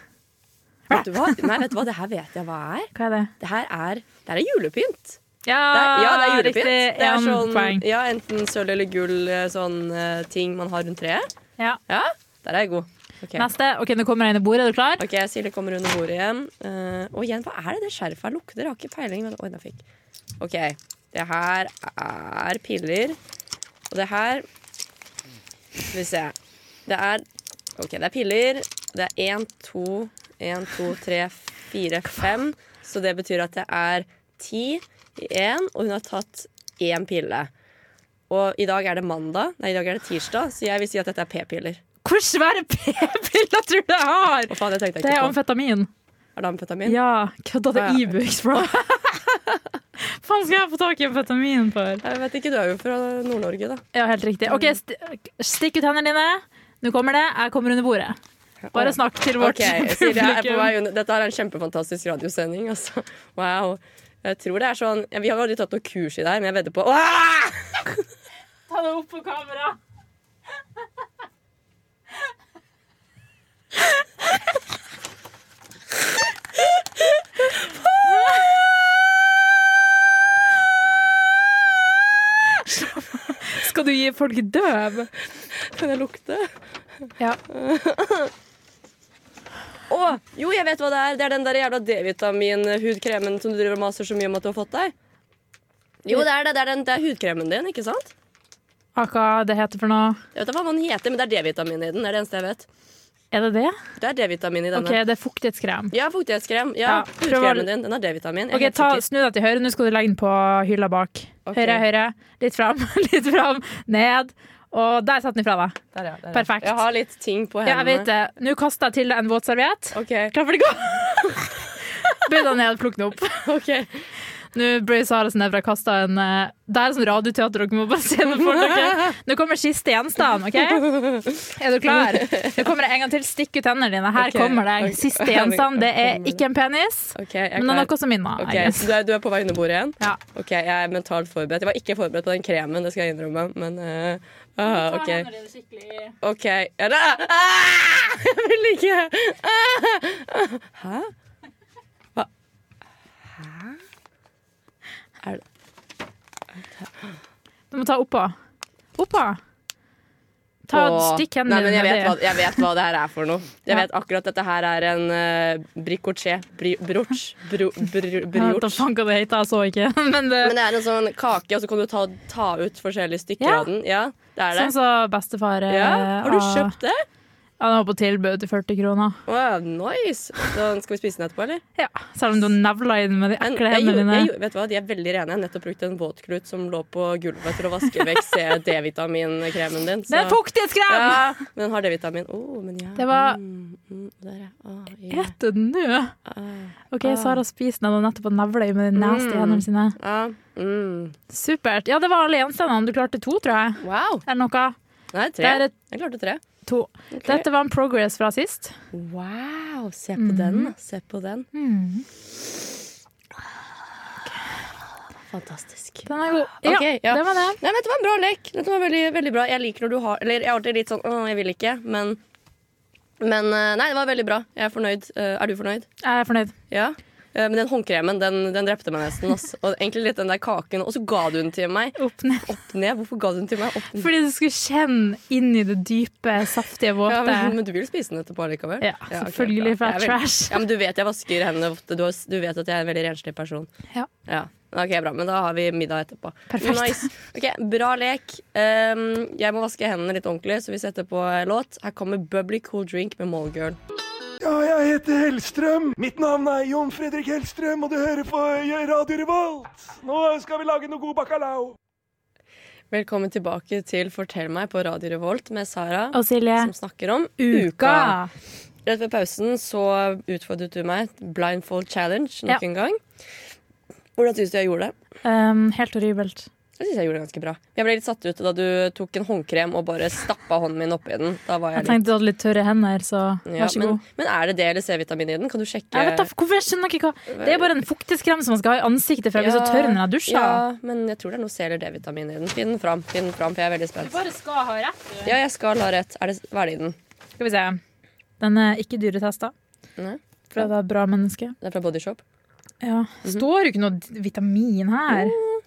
Speaker 1: Vet du hva? Nei, vet du hva? Det her vet jeg hva er.
Speaker 4: Hva er det?
Speaker 1: Det her er, det her er julepynt.
Speaker 4: Ja,
Speaker 1: Det er, ja, det er
Speaker 4: Ah, riktig.
Speaker 1: julepynt. Det er
Speaker 4: En
Speaker 1: sånn,
Speaker 4: poeng.
Speaker 1: ja, enten sølv eller gull, eh, sånn eh, ting man har rundt treet.
Speaker 4: Ja.
Speaker 1: Ja, der er jeg god. OK,
Speaker 4: Neste. Ok, Nå kommer jeg inn i bordet. Er du klar?
Speaker 1: Ok, Silje kommer under bordet igjen. Eh, og igjen, hva er det det skjerfet her lukter? Jeg har ikke peiling. Men, oi, den fikk. OK, Det her er piller. Og det her Skal vi se. Det er OK, det er piller. Det er én, to, én, to, tre, fire, fem. Så det betyr at det er ti i én, og hun har tatt én pille. Og i dag er det mandag, nei, i dag er det tirsdag, så jeg vil si at dette er p-piller.
Speaker 4: Hvor svære p-piller tror du jeg har?
Speaker 1: Hva faen, det tenkte jeg
Speaker 4: Det er
Speaker 1: ikke på.
Speaker 4: amfetamin.
Speaker 1: Er det amfetamin?
Speaker 4: Ja, kødda det
Speaker 1: Ah,
Speaker 4: er
Speaker 1: ja.
Speaker 4: Ibux, bro. (laughs) Faen skal jeg få tak i amfetamin for?
Speaker 1: Jeg vet ikke, du er jo fra Nord-Norge, da.
Speaker 4: Ja, helt riktig. OK, st stikk ut hendene dine. Nå kommer det. Jeg kommer under bordet. Bare snakk til vårt
Speaker 1: Ok, så jeg er på
Speaker 4: publikum.
Speaker 1: vei under. Dette er en kjempefantastisk radiosending. Altså. Wow. Jeg tror det er sånn ja, Vi har aldri tatt noe kurs i det her, men jeg vedder på Åh!
Speaker 4: Ta det opp på kamera. Skal du gi folk døv?
Speaker 1: Kan jeg lukte?
Speaker 4: Ja.
Speaker 1: Å, jo, jeg vet hva det er. Det er den der jævla D-vitamin-hudkremen som du driver og maser så mye om at du har fått deg. Jo, det er det. Det er, den, det er hudkremen din, ikke sant?
Speaker 4: Aka, det heter for noe
Speaker 1: Jeg vet ikke hva den heter, men det er D-vitamin i den. Det er det eneste jeg vet.
Speaker 4: Er det det?
Speaker 1: Det er D-vitamin i
Speaker 4: OK,
Speaker 1: denne.
Speaker 4: det er fuktighetskrem.
Speaker 1: Ja, fuktighetskrem. Ja,
Speaker 4: Ja, prøv å-
Speaker 1: hudkremen din. Den har D-vitamin. Jeg er
Speaker 4: Ok,
Speaker 1: helt
Speaker 4: ta,
Speaker 1: sikker.
Speaker 4: Snu deg til høyre. Nå skal du legge den på hylla bak.
Speaker 1: Ok.
Speaker 4: Høyre, høyre. Litt fram, (laughs) litt fram. Ned. Og der satt den ifra deg. Perfekt.
Speaker 1: Jeg har litt ting på
Speaker 4: Ja, jeg vet
Speaker 1: hendene.
Speaker 4: det. Nå kaster jeg til deg en våtserviett.
Speaker 1: Ok.
Speaker 4: Klar for det gå? (laughs) Bøy deg ned, plukk den opp.
Speaker 1: Ok.
Speaker 4: Nå ble Sara så nedfra kasta en eh, Det er sånn radioteater, dere må bare se det for dere. Nå kommer siste gjenstand, OK? Er du klar? Nå kommer det en gang til. Stikk ut hendene dine. Her
Speaker 1: Ok,
Speaker 4: kommer det.
Speaker 1: ok.
Speaker 4: Siste gjenstand. Det er ikke en penis,
Speaker 1: Ok, jeg er
Speaker 4: men det er
Speaker 1: klar.
Speaker 4: noe som minner. I
Speaker 1: Ok,
Speaker 4: guess.
Speaker 1: så du er, du er på vei under bordet igjen?
Speaker 4: Ja.
Speaker 1: Ok, Jeg er mentalt forberedt. Jeg var ikke forberedt på den kremen, det skal jeg innrømme. Men eh, ah, OK. Ok, ja, da, ah, Jeg vil ikke ah, ah, Hæ? Hva? Hæ? Er det
Speaker 4: Du må ta oppå. Oppå. Ta
Speaker 1: Åh,
Speaker 4: Stikk
Speaker 1: Nei,
Speaker 4: hendene
Speaker 1: men jeg
Speaker 4: nedi.
Speaker 1: vet, hva, jeg vet hva det her er for noe. Jeg
Speaker 4: Ja.
Speaker 1: vet akkurat dette her er en uh, bricoché. Bri, brooch. Bro, bro,
Speaker 4: Jeg vet da
Speaker 1: brioche.
Speaker 4: faen hva det heter, jeg så ikke. (laughs) Men det,
Speaker 1: Men det er en sånn kake, og så kan du ta, ta ut forskjellige stykker
Speaker 4: Ja.
Speaker 1: av den. Ja, det er det.
Speaker 4: sånn som bestefar eh,
Speaker 1: Ja, har du
Speaker 4: av-
Speaker 1: kjøpt det?
Speaker 4: Ja, den var på tilbud til 40 kroner.
Speaker 1: Wow, nice! Da skal vi spise den etterpå, eller?
Speaker 4: Ja, Selv om du nevla i den med de
Speaker 1: Men
Speaker 4: ekle
Speaker 1: jeg, gjorde-
Speaker 4: hendene dine.
Speaker 1: jeg, gjorde- vet du hva, De er veldig rene. Jeg har nettopp brukt en våtklut som lå på gulvet til å vaske vekk C- D-vitaminkremen din. så-
Speaker 4: Det er fuktighetskrem!
Speaker 1: Ja, men den har D-vitamin. Oh, men ja.
Speaker 4: Det var-
Speaker 1: mm, mm, der, ja. Ah, ja.
Speaker 4: Et den nå? OK, Sara spiser den og nettopp har nevla i med de nasty
Speaker 1: Ah. Mm.
Speaker 4: hendene sine.
Speaker 1: Ah, mm.
Speaker 4: Supert. Ja, det var alle gjenstandene. Du klarte to, tror jeg.
Speaker 1: Wow!
Speaker 4: Eller noe.
Speaker 1: Nei, tre.
Speaker 4: Det er et-
Speaker 1: Jeg klarte tre.
Speaker 4: To. Dette var en progress fra sist.
Speaker 1: Wow! Se
Speaker 4: Mm.
Speaker 1: på den. Se på den. Fantastisk.
Speaker 4: Den er god. Ja,
Speaker 1: Ok, ja.
Speaker 4: det var det.
Speaker 1: Nei, men Dette var en bra lek. Dette var veldig, veldig bra. Jeg liker når du har Eller jeg er alltid litt sånn Å, jeg vil ikke, men Men eh, nei, det var veldig bra. Jeg er fornøyd. Eh, Er du fornøyd?
Speaker 4: Jeg er fornøyd.
Speaker 1: Ja. Eh, Men den håndkremen, den, den drepte meg nesten. ass. Og egentlig litt den der kaken. Og så ga du den til meg.
Speaker 4: Opp ned.
Speaker 1: Opp ned. Hvorfor ga du den til meg? Opp ned.
Speaker 4: Fordi du skulle kjenne inn i det dype, saftige, våte.
Speaker 1: Ja, men,
Speaker 4: Ja,
Speaker 1: men du vil spise den etterpå likevel? ok,
Speaker 4: selvfølgelig, for
Speaker 1: bra.
Speaker 4: jeg er
Speaker 1: Jeg er veldig-
Speaker 4: trash.
Speaker 1: Ja, men du vet jeg vasker hendene ofte. Du, har, du vet at jeg er en veldig renslig person.
Speaker 4: Ja.
Speaker 1: Ok, bra, Men da har vi middag etterpå.
Speaker 4: Perfekt.
Speaker 1: Nice. Ok, Bra lek. Um, jeg må vaske hendene litt ordentlig, så vi setter på en låt. Her kommer Bubbly Cool Drink med Mallgirl.
Speaker 8: Ja, jeg heter Hellstrøm. Mitt navn er Jon Fredrik Hellstrøm, og du hører på Radio Revolt. Nå skal vi lage noe god bacalao.
Speaker 1: Velkommen tilbake til Fortell meg på Radio Revolt med Sara,
Speaker 4: Og Silje,
Speaker 1: som snakker om
Speaker 4: uka!
Speaker 1: Rett ved pausen så utfordret du meg. Blindfold challenge nok
Speaker 4: Ja.
Speaker 1: en gang. Hvordan syns du jeg gjorde det?
Speaker 4: Um, helt horribelt.
Speaker 1: Jeg synes jeg gjorde det ganske bra. Jeg ble litt satt ut da du tok en håndkrem og bare stappa hånden min oppi den. Da var
Speaker 4: Jeg
Speaker 1: jeg litt
Speaker 4: tenkte du hadde litt tørre hender, så
Speaker 1: ja,
Speaker 4: vær så
Speaker 1: men,
Speaker 4: god.
Speaker 1: men er det D eller C-vitamin i den? Kan du sjekke?
Speaker 4: Jeg vet da, hvorfor jeg skjønner ikke hva Det er bare en fuktighetskrem som man skal ha i ansiktet, for jeg blir så tørr når jeg dusjer.
Speaker 1: Ja, men jeg tror det er noe C eller D-vitamin i den. Finn den fram, finn den fram, for jeg er veldig spent.
Speaker 4: Bare skal ha rett.
Speaker 1: Ja, jeg skal ha rett. Er det, hva er det i den?
Speaker 4: Skal vi se. Den er ikke dyretesta.
Speaker 1: Nei.
Speaker 4: For det er et bra menneske.
Speaker 1: Det er fra Bodyshop.
Speaker 4: Ja.
Speaker 1: Mhm.
Speaker 4: Står jo ikke noe d- vitamin her.
Speaker 1: Oh.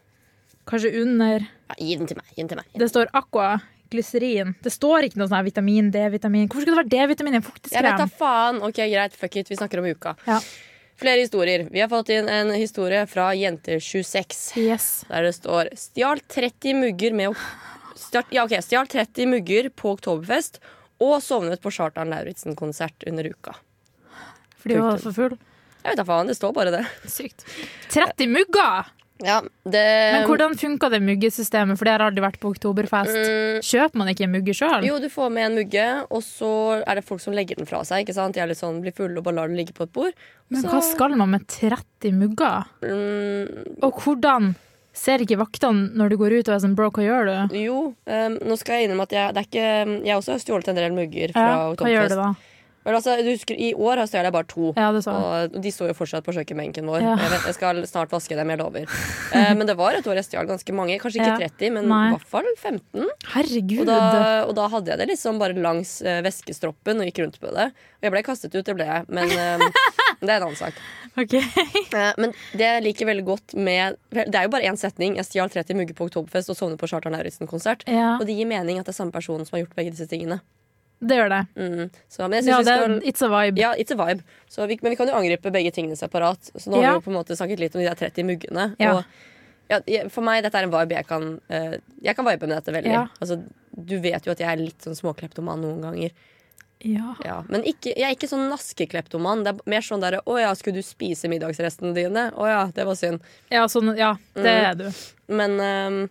Speaker 4: Kanskje under.
Speaker 1: Ja, gi den til meg. Gi den til meg.
Speaker 4: Det står aqua, glyserin. Det står ikke noe sånn her vitamin, D-vitamin. Hvorfor skulle det være D-vitamin i en
Speaker 1: Jeg vet da
Speaker 4: fuktighetskrem?
Speaker 1: faen. Ok, Greit, fuck it. Vi snakker om uka.
Speaker 4: Ja.
Speaker 1: Flere historier. Vi har fått inn en historie fra Jenter26.
Speaker 4: Yes.
Speaker 1: Der det står Stjal 30 mugger med stjal, Ja, ok, stjal 30 mugger på Oktoberfest og sovnet på Chartan Lauritzen-konsert under uka.
Speaker 4: Fordi hun var for full.
Speaker 1: Jeg vet da faen, det står bare det.
Speaker 4: Sykt. 30 mugger!
Speaker 1: Ja, det
Speaker 4: Men hvordan funka det muggesystemet, for det har aldri vært på Oktoberfest. Kjøper man ikke en mugge sjøl?
Speaker 1: Mm. Jo, du får med en mugge, og så er det folk som legger den fra seg. ikke sant? De er litt sånn, blir fulle og bare lar den ligge på et bord.
Speaker 4: Men
Speaker 1: Så-
Speaker 4: hva skal man med 30 mugger?
Speaker 1: Mm,
Speaker 4: Og hvordan ser ikke vaktene når du går ut og er sånn bro, hva gjør du?
Speaker 1: jo, eh, nå skal jeg innrømme at jeg, det er ikke, jeg har også stjålet en del mugger fra
Speaker 4: Ja, hva gjør
Speaker 1: Oktoberfest.
Speaker 4: du da?
Speaker 1: Men altså, du husker, I år har stjålet jeg bare to.
Speaker 4: Ja, det sånn. sa jeg.
Speaker 1: Og de står jo fortsatt på kjøkkenbenken vår.
Speaker 4: Ja.
Speaker 1: Jeg, vet, jeg skal snart vaske dem, jeg lover. Eh, men det var et år jeg stjal ganske mange. Kanskje ikke
Speaker 4: Ja.
Speaker 1: 30, men i
Speaker 4: Nei.
Speaker 1: hvert fall 15. Og
Speaker 4: Herregud!
Speaker 1: da, og da hadde jeg det liksom bare langs eh, væskestroppen og gikk rundt med det. Og jeg ble kastet ut, det ble jeg. Men eh,
Speaker 4: (laughs)
Speaker 1: det er en annen sak.
Speaker 4: (laughs) Ok.
Speaker 1: Eh, men det jeg liker veldig godt med Det er jo bare én setning. Jeg stjal 30 mugger på Oktoberfest og sovnet på Charter Lauritzen-konsert.
Speaker 4: Ja,
Speaker 1: Og det gir mening at det er samme person som har gjort begge disse tingene.
Speaker 4: det gjør det.
Speaker 1: Mm. Så, men jeg synes
Speaker 4: Ja,
Speaker 1: vi
Speaker 4: det
Speaker 1: skal
Speaker 4: er, it's a vibe.
Speaker 1: Ja, it's a vibe. Så vi, men vi kan jo angripe begge tingene separat. Så nå har
Speaker 4: Ja.
Speaker 1: vi jo på en måte snakket litt om de der 30 muggene.
Speaker 4: Ja.
Speaker 1: Og ja, jeg- for meg, dette er en vibe jeg kan eh, Jeg kan vibe med dette veldig.
Speaker 4: Ja.
Speaker 1: Altså, du vet jo at jeg er litt sånn småkleptoman noen ganger.
Speaker 4: Ja.
Speaker 1: Ja. Men ikke, jeg er ikke sånn naskekleptoman. Det er mer sånn derre Å ja, skulle du spise middagsrestene dine? Å ja, det var synd.
Speaker 4: Ja, sånn, ja, det
Speaker 1: Mm.
Speaker 4: er du.
Speaker 1: Men ehm,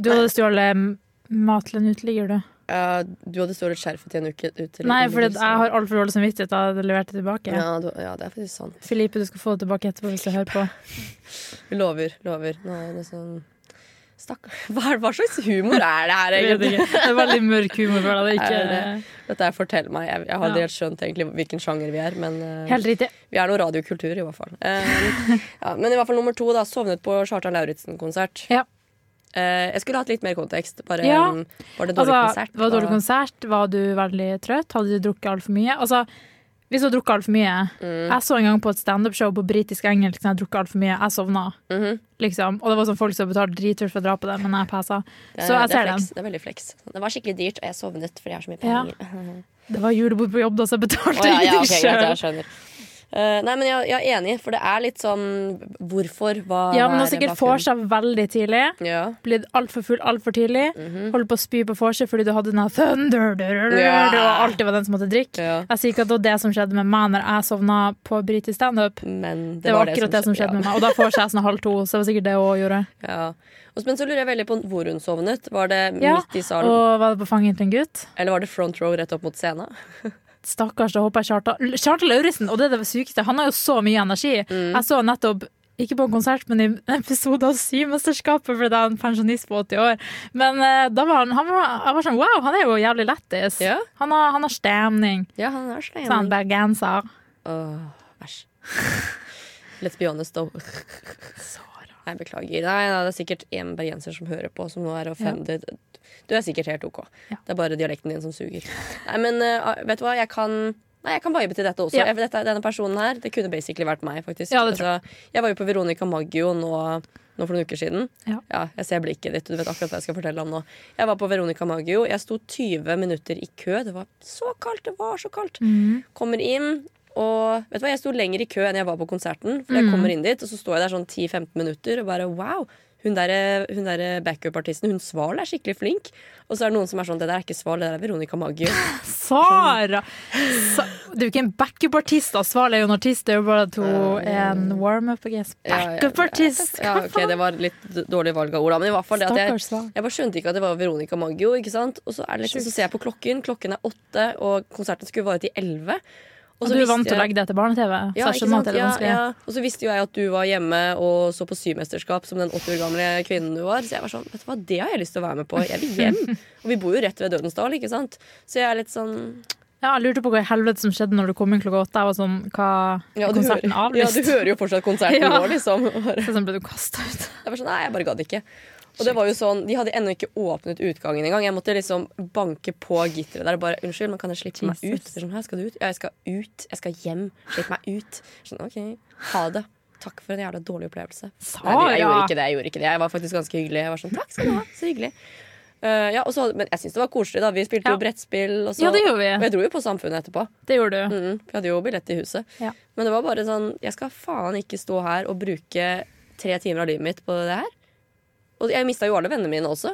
Speaker 4: Du hadde stjålet m- mat til en uteligger, du.
Speaker 1: ja, du hadde stjålet skjerfet til en uke ut til
Speaker 4: Nei,
Speaker 1: en
Speaker 4: for
Speaker 1: uke,
Speaker 4: jeg
Speaker 1: så-
Speaker 4: har altfor dårlig samvittighet. Da hadde jeg levert det tilbake.
Speaker 1: ja, du, ja, det er faktisk sant.
Speaker 4: Filipe, du skal få det tilbake etterpå hvis du hører på.
Speaker 1: Vi Lover, lover. Nå er det sånn Stakkar. (laughs) Hva, er- hva slags humor er Eh, det her,
Speaker 4: Jeg
Speaker 1: egentlig?
Speaker 4: vet ikke. Det er veldig mørk humor. for deg, det
Speaker 1: Er
Speaker 4: er
Speaker 1: det?
Speaker 4: ikke
Speaker 1: Dette er Fortell meg. Jeg, jeg har aldri
Speaker 4: Ja.
Speaker 1: helt skjønt egentlig hvilken sjanger vi er, men eh,
Speaker 4: Helt riktig.
Speaker 1: vi er noe radiokultur, i hvert fall.
Speaker 4: (laughs)
Speaker 1: Eh, ja, men i hvert fall nummer to, da. Sovnet på Chartan Lauritzen-konsert.
Speaker 4: Ja.
Speaker 1: Eh, jeg skulle hatt litt mer kontekst. Bare,
Speaker 4: Ja.
Speaker 1: mm, Var det dårlig
Speaker 4: Altså,
Speaker 1: konsert?
Speaker 4: var det dårlig
Speaker 1: Hva-
Speaker 4: konsert? Var du veldig trøtt? Hadde du drukket altfor mye? Altså, hvis du har drukket altfor mye
Speaker 1: Mm.
Speaker 4: Jeg så en gang på et standup-show på britisk engelsk når jeg drukket altfor mye. Jeg sovna.
Speaker 1: Mhm.
Speaker 4: Liksom. Og det var sånn folk som betalte dritdyrt for å dra på det, men jeg passa.
Speaker 1: Det er-
Speaker 4: Så jeg
Speaker 1: eh, det er
Speaker 4: ser den.
Speaker 1: flex. Det er veldig flex. Det var skikkelig dyrt, og jeg sovnet fordi jeg har så mye
Speaker 4: Ja. (laughs)
Speaker 1: penger.
Speaker 4: Det var julebord på jobb, da, så jeg betalte
Speaker 1: Å, ja, ja, ok,
Speaker 4: ingenting
Speaker 1: greit,
Speaker 4: selv.
Speaker 1: jeg skjønner. Eh, nei, men jeg, jeg er enig, for det er litt sånn hvorfor, hva
Speaker 4: Ja, men altså,
Speaker 1: hva
Speaker 4: hun
Speaker 1: er
Speaker 4: sikkert
Speaker 1: bakgrunnen?
Speaker 4: vorsa veldig tidlig.
Speaker 1: Ja.
Speaker 4: Blitt altfor full altfor tidlig. Holdt på å spy på vorset fordi du hadde den her thunder
Speaker 1: Mhm. Ja.
Speaker 4: Og alltid var den som måtte drikke.
Speaker 1: ja.
Speaker 4: Jeg sier ikke at det var det som skjedde med meg når jeg sovna på britisk standup.
Speaker 1: Men det,
Speaker 4: Det var akkurat det som
Speaker 1: ja.
Speaker 4: skjedde med meg. Og da får jeg sånn halv to, så det var sikkert det hun også gjorde.
Speaker 1: Ja. Og, men så lurer jeg veldig på hvor hun sovnet. Var det
Speaker 4: Ja,
Speaker 1: midt i salen,
Speaker 4: Og var det på fanget til en gutt?
Speaker 1: eller var det front row rett opp mot scenen?
Speaker 4: Stakkars, da håper jeg Kjartan Kjartan Lauritzen, og det er det sykeste, han har jo så mye energi.
Speaker 1: Mm.
Speaker 4: Jeg så nettopp ikke på en konsert, men i en episode av Symesterskapet, fordi jeg er en pensjonist på 80 år. Men eh, da var han, han var, jeg var sånn, wow, han er jo jævlig lettis.
Speaker 1: Ja.
Speaker 4: Han, har, han har stemning.
Speaker 1: Ja, han er
Speaker 4: Så han bergenser.
Speaker 1: Åh, Æsj. (laughs) Let's be honest, though. Nei, beklager. Nei, nei, det er sikkert én bergenser som hører på, som nå er offended. Du er sikkert helt OK.
Speaker 4: Ja.
Speaker 1: Det er bare dialekten din som suger. Nei, men eh, vet du hva, jeg kan Nei, jeg kan vibe til dette også.
Speaker 4: Ja.
Speaker 1: Jeg, dette, denne personen her, det kunne basically vært meg, faktisk.
Speaker 4: Ja, det tror
Speaker 1: Altså, jeg var jo på Veronica Maggio nå, nå for noen uker siden.
Speaker 4: Ja.
Speaker 1: jeg ser blikket ditt, du vet akkurat hva jeg skal fortelle om nå. Jeg var på Veronica Maggio. Jeg sto 20 minutter i kø. Det var så kaldt, det var så kaldt. Kommer inn, og vet du hva, jeg sto lenger i kø enn jeg var på konserten. For jeg kommer inn dit, og så står jeg der sånn 10-15 minutter og bare wow. Hun der, hun der backup-artisten, hun Sval, er skikkelig flink. Og så er det noen som er sånn, det der er ikke Sval, det der er Veronica Maggio.
Speaker 4: Sara! Sa det er jo ikke en backup-artist, da. Sval er jo en artist, det er jo bare at hun er en warm-up, I guess.
Speaker 1: Ja, ja,
Speaker 4: Backup-artist!
Speaker 1: Ja, ok, det var litt d- dårlig valg av ord, da. Men i hvert fall det at jeg
Speaker 4: Stakkars Sval.
Speaker 1: jeg bare skjønte ikke at det var Veronica Maggio. ikke sant? Og så, er det liksom, så ser jeg på klokken, klokken er åtte, og konserten skulle vare til elleve.
Speaker 4: Og du er vant til å legge det til barne-TV, så jeg skjønner at det er litt vanskelig.
Speaker 1: Ja, ja. Og så visste jo jeg at du var hjemme og så på symesterskap som den 80 år gamle kvinnen du var. Så jeg var sånn, vet du hva, det har jeg lyst til å være med på. Jeg vil hjem.
Speaker 4: (laughs)
Speaker 1: Og vi bor jo rett ved Dødens dal, ikke sant. Så jeg er litt sånn
Speaker 4: Ja, jeg lurte på hva i helvete som skjedde når du kom inn klokka åtte. Jeg var sånn, hva
Speaker 1: ja,
Speaker 4: er
Speaker 1: du
Speaker 4: konserten
Speaker 1: hører, ja,
Speaker 4: avlyst?
Speaker 1: du hører jo fortsatt konserten
Speaker 4: (laughs) Ja.
Speaker 1: vår, liksom. Bare.
Speaker 4: Så sånn ble du kastet ut.
Speaker 1: Jeg var sånn, nei, jeg bare gadd ikke. Og det var jo sånn, De hadde ennå ikke åpnet utgangen engang. Jeg måtte liksom banke på gitteret der og bare 'Unnskyld, men kan jeg slippe meg ut?'
Speaker 4: Jesus.
Speaker 1: Det er Sånn, «Hæ, skal du ut? Ja, jeg skal ut. Jeg skal hjem. Slipp meg ut. Sånn, OK. Ha det. Takk for en jævla dårlig opplevelse. Nei, jeg, jeg
Speaker 4: Sara!
Speaker 1: gjorde ikke det. Jeg gjorde ikke det. Jeg var faktisk ganske hyggelig. Jeg var sånn, takk skal du ha. Så hyggelig. Eh, ja, og så, hadde- men jeg syns det var koselig. da Vi spilte
Speaker 4: Ja.
Speaker 1: jo brettspill. Og, så,
Speaker 4: Ja, det gjorde
Speaker 1: og
Speaker 4: vi.
Speaker 1: jeg dro jo på Samfunnet etterpå.
Speaker 4: Det gjorde du.
Speaker 1: Mm, for jeg hadde jo billett i huset.
Speaker 4: Ja.
Speaker 1: Men det var bare sånn Jeg skal faen ikke stå her og bruke tre timer av livet mitt på det her. Og jeg mista jo alle vennene mine også.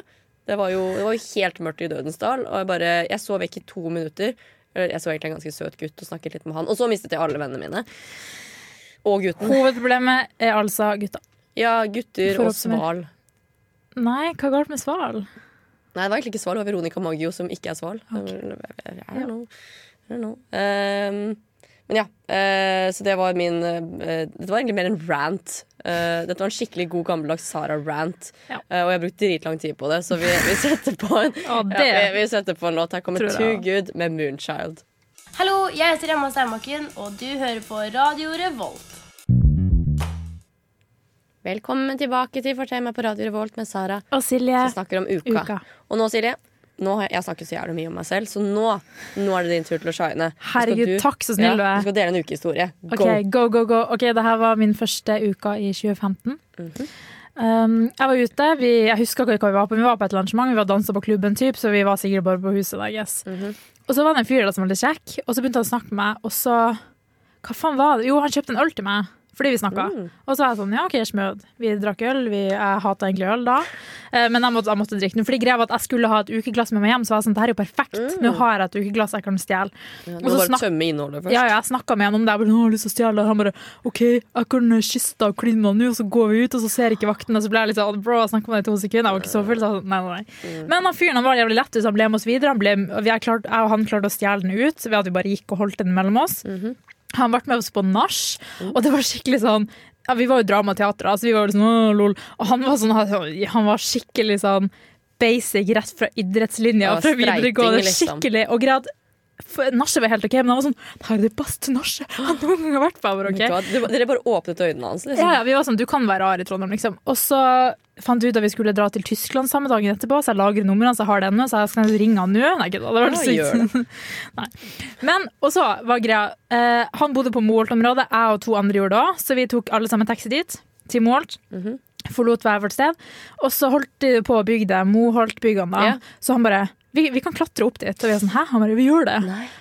Speaker 1: Det var jo, det var jo helt mørkt i Dødens dal. Og jeg bare Jeg sov vekk i to minutter. Eller jeg så egentlig en ganske søt gutt og snakket litt med han. Og så mistet jeg alle vennene mine. Og gutten.
Speaker 4: Hovedproblemet er altså gutta.
Speaker 1: Ja, gutter
Speaker 4: For å
Speaker 1: og
Speaker 4: oppsummere.
Speaker 1: sval.
Speaker 4: Nei, hva galt med Sval?
Speaker 1: Nei, det var egentlig ikke sval. Det var Veronica Maggio som ikke er sval. eh, I don't know. I don't know. Ehm, men ja, eh, så det var min eh, Dette var egentlig mer en rant. Eh, dette var en skikkelig god gammeldags Sara-rant.
Speaker 4: Ja.
Speaker 1: Eh, og jeg har brukt dritlang tid på det, så vi, vi setter på en
Speaker 4: Å, det-
Speaker 1: ja, vi, vi setter på en låt. Her kommer
Speaker 4: Tror jeg
Speaker 1: Too Good med Moonchild.
Speaker 9: Hallo, jeg heter Emma Steinbakken, og du hører på Radio Revolt.
Speaker 1: Velkommen tilbake til Fortell meg på Radio Revolt med Sara,
Speaker 4: Og Silje.
Speaker 1: som snakker om uka.
Speaker 4: Uka.
Speaker 1: Og nå, Silje, nå har jeg, jeg snakker så jævlig mye om meg selv, så nå, nå er det din tur til å shine. Nå skal
Speaker 4: Herregud,
Speaker 1: du-
Speaker 4: takk så snill du
Speaker 1: ja,
Speaker 4: er.
Speaker 1: Du skal dele en ukehistorie.
Speaker 4: Ok, go, go, go. Ok, det her var min første uka i 2015.
Speaker 1: Mhm.
Speaker 4: um, jeg var ute, vi, jeg husker ikke hva vi var på, men vi var på et arrangement, vi var dansa på klubben typ, så vi var sikkert bare på huset da, I guess.
Speaker 1: Mhm.
Speaker 4: Og så var det en fyr da som var litt kjekk, og så begynte han å snakke med meg, og så, hva faen var det? Jo, han kjøpte en øl til meg, fordi vi snakket.
Speaker 1: Mm.
Speaker 4: Og så var jeg sånn, ja ok, smød. Vi drakk øl, vi, jeg hatet egentlig øl da, Eh, men jeg måtte, jeg måtte drikke den, fordi greia var at jeg skulle ha et ukeglass med meg hjem, så var jeg sånn, det her er jo perfekt, nå har jeg et ukeglass jeg kan stjele.
Speaker 1: Mm. Ja,
Speaker 4: Og
Speaker 1: du må
Speaker 4: så
Speaker 1: bare
Speaker 4: snak-
Speaker 1: tømme innholdet først.
Speaker 4: Ja, ja, jeg snakka med han om det. Jeg bare, «Nå har jeg lyst til å stjele det». Han bare OK, jeg kan kysse deg og kline med deg nå, og så går vi ut, og så ser ikke vakten. Og så ble jeg litt sånn bro, jeg snakka med deg i to sekunder, jeg var ikke så full. Så jeg, sånn, nei, nei, nei.
Speaker 1: Mm.
Speaker 4: Men han fyren han var jævlig lett, så han ble med oss videre. Han ble, og vi er klart, jeg og han klarte å stjele den ut ved at vi bare gikk og holdt den mellom oss.
Speaker 1: Mhm.
Speaker 4: Han ble med oss på nach,
Speaker 1: Mm.
Speaker 4: og det var skikkelig sånn ja, Vi var jo dramateater, altså vi var jo sånn «Åh, lol. Og han var, sånn, han- han var skikkelig sånn basic rett fra idrettslinja.
Speaker 1: Ja,
Speaker 4: fra
Speaker 1: streiting,
Speaker 4: videregående,
Speaker 1: liksom.
Speaker 4: skikkelig. Og grad Nachet var helt OK, men han var sånn Det her er det beste nachet han noen gang har vært på. Jeg bare, «Ok».
Speaker 1: Vet du hva? Du- Dere bare åpnet øynene hans. Liksom.
Speaker 4: Ja, ja, vi var sånn, du kan være rar i Trondheim, liksom. Og så fant vi ut at vi skulle dra til Tyskland samme dagen etterpå, så jeg lagrer nummeret hans, jeg har det ennå, så jeg skal ringe han nå. Nei, ikke da, det var
Speaker 1: Ja, gjør
Speaker 4: helt sykt. (laughs) Nei. Men, og så var greia, eh, han bodde på Moholt-området, jeg og to andre gjorde det også, så vi tok alle sammen taxi dit, til Moholt.
Speaker 1: Mhm.
Speaker 4: Forlot hver vårt sted. Og så holdt de på å bygge det, Moholt-byggene da.
Speaker 1: Ja.
Speaker 4: Så han bare, vi, vi kan klatre opp dit. Og vi er sånn, hæ? Han bare, vi gjør det.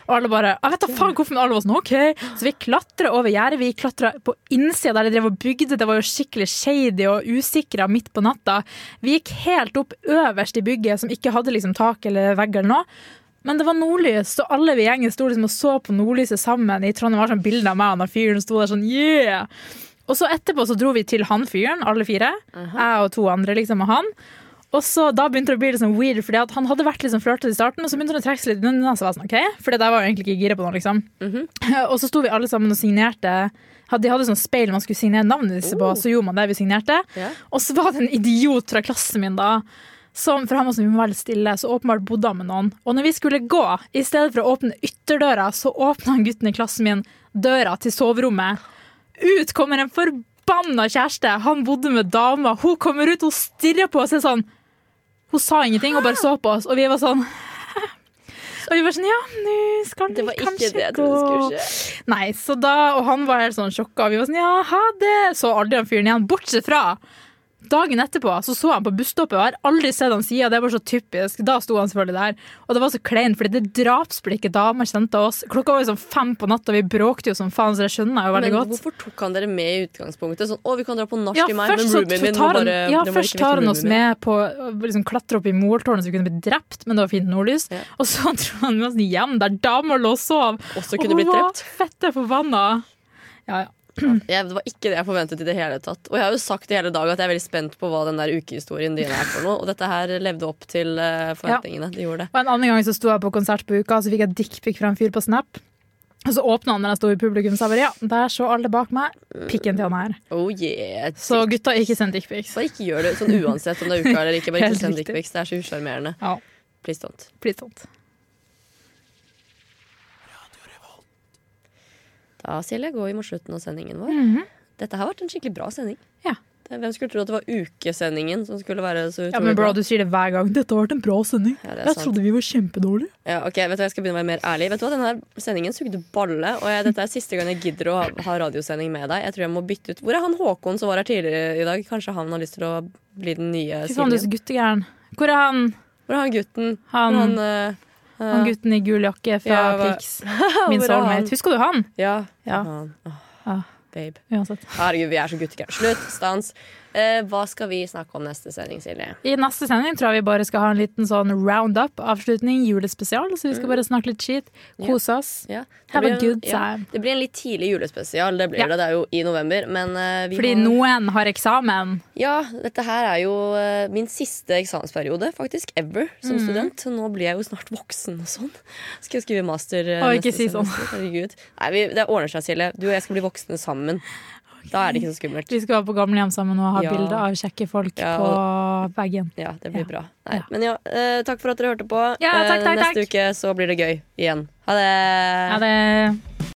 Speaker 4: Og alle bare Jeg vet da faen hvorfor men alle var sånn OK. Så vi klatra over gjerdet. Vi klatra på innsida der de drev og bygde. Det var jo skikkelig shady og usikra midt på natta. Vi gikk helt opp øverst i bygget, som ikke hadde liksom tak eller vegg eller noe. Men det var nordlys, så alle vi i gjengen sto liksom og så på nordlyset sammen. I Trondheim var det sånn bilde av meg og han fyren sto der sånn yeah! Og så etterpå så dro vi til han fyren, alle fire. Jeg og to andre, liksom, og han. Og så da begynte det å bli litt sånn weird, fordi at han hadde vært litt sånn flørtete i starten, men så begynte han å trekke seg litt unna. Så var jeg sånn, ok? Fordi jeg var jo egentlig ikke gira på noe, liksom. (laughs) Og så sto vi alle sammen og signerte. Had- De hadde sånn speil man skulle signere navnet disse på, så gjorde man det vi signerte.
Speaker 1: Ja.
Speaker 4: Og så var det en idiot fra klassen min da, som for han var sånn, vi må være litt stille, så åpenbart bodde han med noen. Og når vi skulle gå, i stedet for å åpne ytterdøra, så åpna han gutten i klassen min døra til soverommet. Ut kommer en forbanna kjæreste. Han bodde med dama. Hun kommer ut, hun stirrer på oss og er sånn Hun sa ingenting og bare så på oss, og vi var sånn (laughs) Og vi var sånn Ja, nå skal
Speaker 1: Det
Speaker 4: vi
Speaker 1: var ikke
Speaker 4: kanskje
Speaker 1: det jeg
Speaker 4: gå.
Speaker 1: trodde skulle skje.
Speaker 4: Nei, så da, og han var helt sånn sjokka, og vi var sånn, ja, ha det, så aldri han fyren igjen, bortsett fra dagen etterpå, så så han på busstoppet, og jeg har aldri sett han siden, det var så typisk, da sto han selvfølgelig der, og det var så klein, fordi det drapsblikket damer kjente oss, klokka var jo sånn fem på natt, og vi bråkte jo som faen, så det skjønner jeg jo veldig
Speaker 1: Men
Speaker 4: godt.
Speaker 1: hvorfor tok han dere med i utgangspunktet? Sånn, å, vi kan dra på nach
Speaker 4: Ja,
Speaker 1: i meg, men
Speaker 4: først, så
Speaker 1: roomien min må
Speaker 4: tar han,
Speaker 1: bare
Speaker 4: ja,
Speaker 1: det må
Speaker 4: først
Speaker 1: ikke
Speaker 4: tar
Speaker 1: vite
Speaker 4: han oss
Speaker 1: roomien min.
Speaker 4: med på å liksom, klatre opp i måltårnet så vi kunne bli drept, men det var fint nordlys.
Speaker 1: Ja.
Speaker 4: Og så (laughs) dro han med oss hjem der damer lå og sov.
Speaker 1: Også
Speaker 4: Og
Speaker 1: kunne blitt
Speaker 4: hun var
Speaker 1: drept.
Speaker 4: fette forbanna. Ja, ja.
Speaker 1: Jeg, det var ikke det jeg forventet i det hele tatt. Og jeg har jo sagt i hele dag at jeg er veldig spent på hva den der ukehistorien din er for noe, og dette her levde opp til eh, forventningene. Det gjorde det.
Speaker 4: Og en annen gang så sto jeg på konsert på uka, så fikk jeg dickpic fra en fyr på Snap. Og så åpna han når jeg sto i publikum, så jeg bare ja, der så alle bak meg pikken til han her.
Speaker 1: Oh yeah.
Speaker 4: Så gutta, ikke send dickpics.
Speaker 1: Bare ikke gjør det sånn uansett om det er uka eller ikke. Bare
Speaker 4: (laughs) Helt
Speaker 1: ikke send
Speaker 4: riktig.
Speaker 1: dickpics. Det er så usjarmerende.
Speaker 4: Ja,
Speaker 1: Please don't.
Speaker 4: please don't.
Speaker 1: Da Silje, går vi mot slutten av sendingen vår. Dette har vært en skikkelig bra sending.
Speaker 4: Mhm. Ja.
Speaker 1: Det, hvem skulle tro at det var ukesendingen som skulle være så utrolig
Speaker 4: Ja, men bro,
Speaker 1: bra?
Speaker 4: du sier det hver gang. Dette har vært en bra sending.
Speaker 1: Ja, det er
Speaker 4: Jeg
Speaker 1: sant.
Speaker 4: trodde vi var kjempedårlige.
Speaker 1: Ja, ok, vet du hva, Jeg skal begynne å være mer ærlig. Vet du hva, Denne sendingen sugde balle, og jeg, dette er siste gang jeg gidder å ha, ha radiosending med deg. Jeg tror jeg må bytte ut Hvor er han Håkon som var her tidligere i dag? Kanskje han har lyst til å bli den nye
Speaker 4: Fy faen, du er
Speaker 1: Silje?
Speaker 4: så guttegæren. Hvor er han?
Speaker 1: Hvor er han gutten?
Speaker 4: Han,
Speaker 1: Hvor
Speaker 4: han,
Speaker 1: han, eh, eh,
Speaker 4: gutten i gul jakke fra
Speaker 1: Ja, hva-
Speaker 4: Prix.
Speaker 1: (laughs) hvor
Speaker 4: Min
Speaker 1: er han?
Speaker 4: soulmate. Husker du han?
Speaker 1: Ja.
Speaker 4: Ja. Ah.
Speaker 1: Han. Åh,
Speaker 4: Ja.
Speaker 1: Babe.
Speaker 4: Uansett.
Speaker 1: Herregud, vi er så guttegærne. Slutt. Stans. Eh, hva skal vi snakke om neste sending, Silje?
Speaker 4: I neste sending tror jeg vi bare skal ha en liten sånn roundup, avslutning, julespesial. Så vi skal bare snakke litt skit, kose oss.
Speaker 1: Mm. Ja. det
Speaker 4: Have a
Speaker 1: blir-
Speaker 4: good
Speaker 1: ja,
Speaker 4: time.
Speaker 1: Det blir en litt tidlig julespesial. Det blir
Speaker 4: Ja.
Speaker 1: det. Det er jo i november. Men eh, vi
Speaker 4: Fordi
Speaker 1: har-
Speaker 4: noen har eksamen.
Speaker 1: Ja, dette her er jo eh, min siste eksamensperiode faktisk, ever, som
Speaker 4: Mm.
Speaker 1: student. Så nå blir jeg jo snart voksen og sånn. Skal jeg skrive master eh,
Speaker 4: Å, ikke
Speaker 1: neste
Speaker 4: si sånn.
Speaker 1: semester. Herregud. Nei, vi, det ordner seg, Silje. Du og jeg skal bli voksne sammen. Da er det ikke så skummelt.
Speaker 4: Vi skal være på gamlehjem sammen og ha
Speaker 1: Ja.
Speaker 4: bilder av kjekke folk
Speaker 1: Ja,
Speaker 4: på veggen.
Speaker 1: Ja, det blir
Speaker 4: Ja.
Speaker 1: bra. Nei.
Speaker 4: Ja.
Speaker 1: Men ja, eh, takk for at dere hørte på.
Speaker 4: Ja, takk,
Speaker 1: Eh,
Speaker 4: takk,
Speaker 1: Neste
Speaker 4: takk.
Speaker 1: uke så blir det gøy igjen. Ha det!
Speaker 4: Er det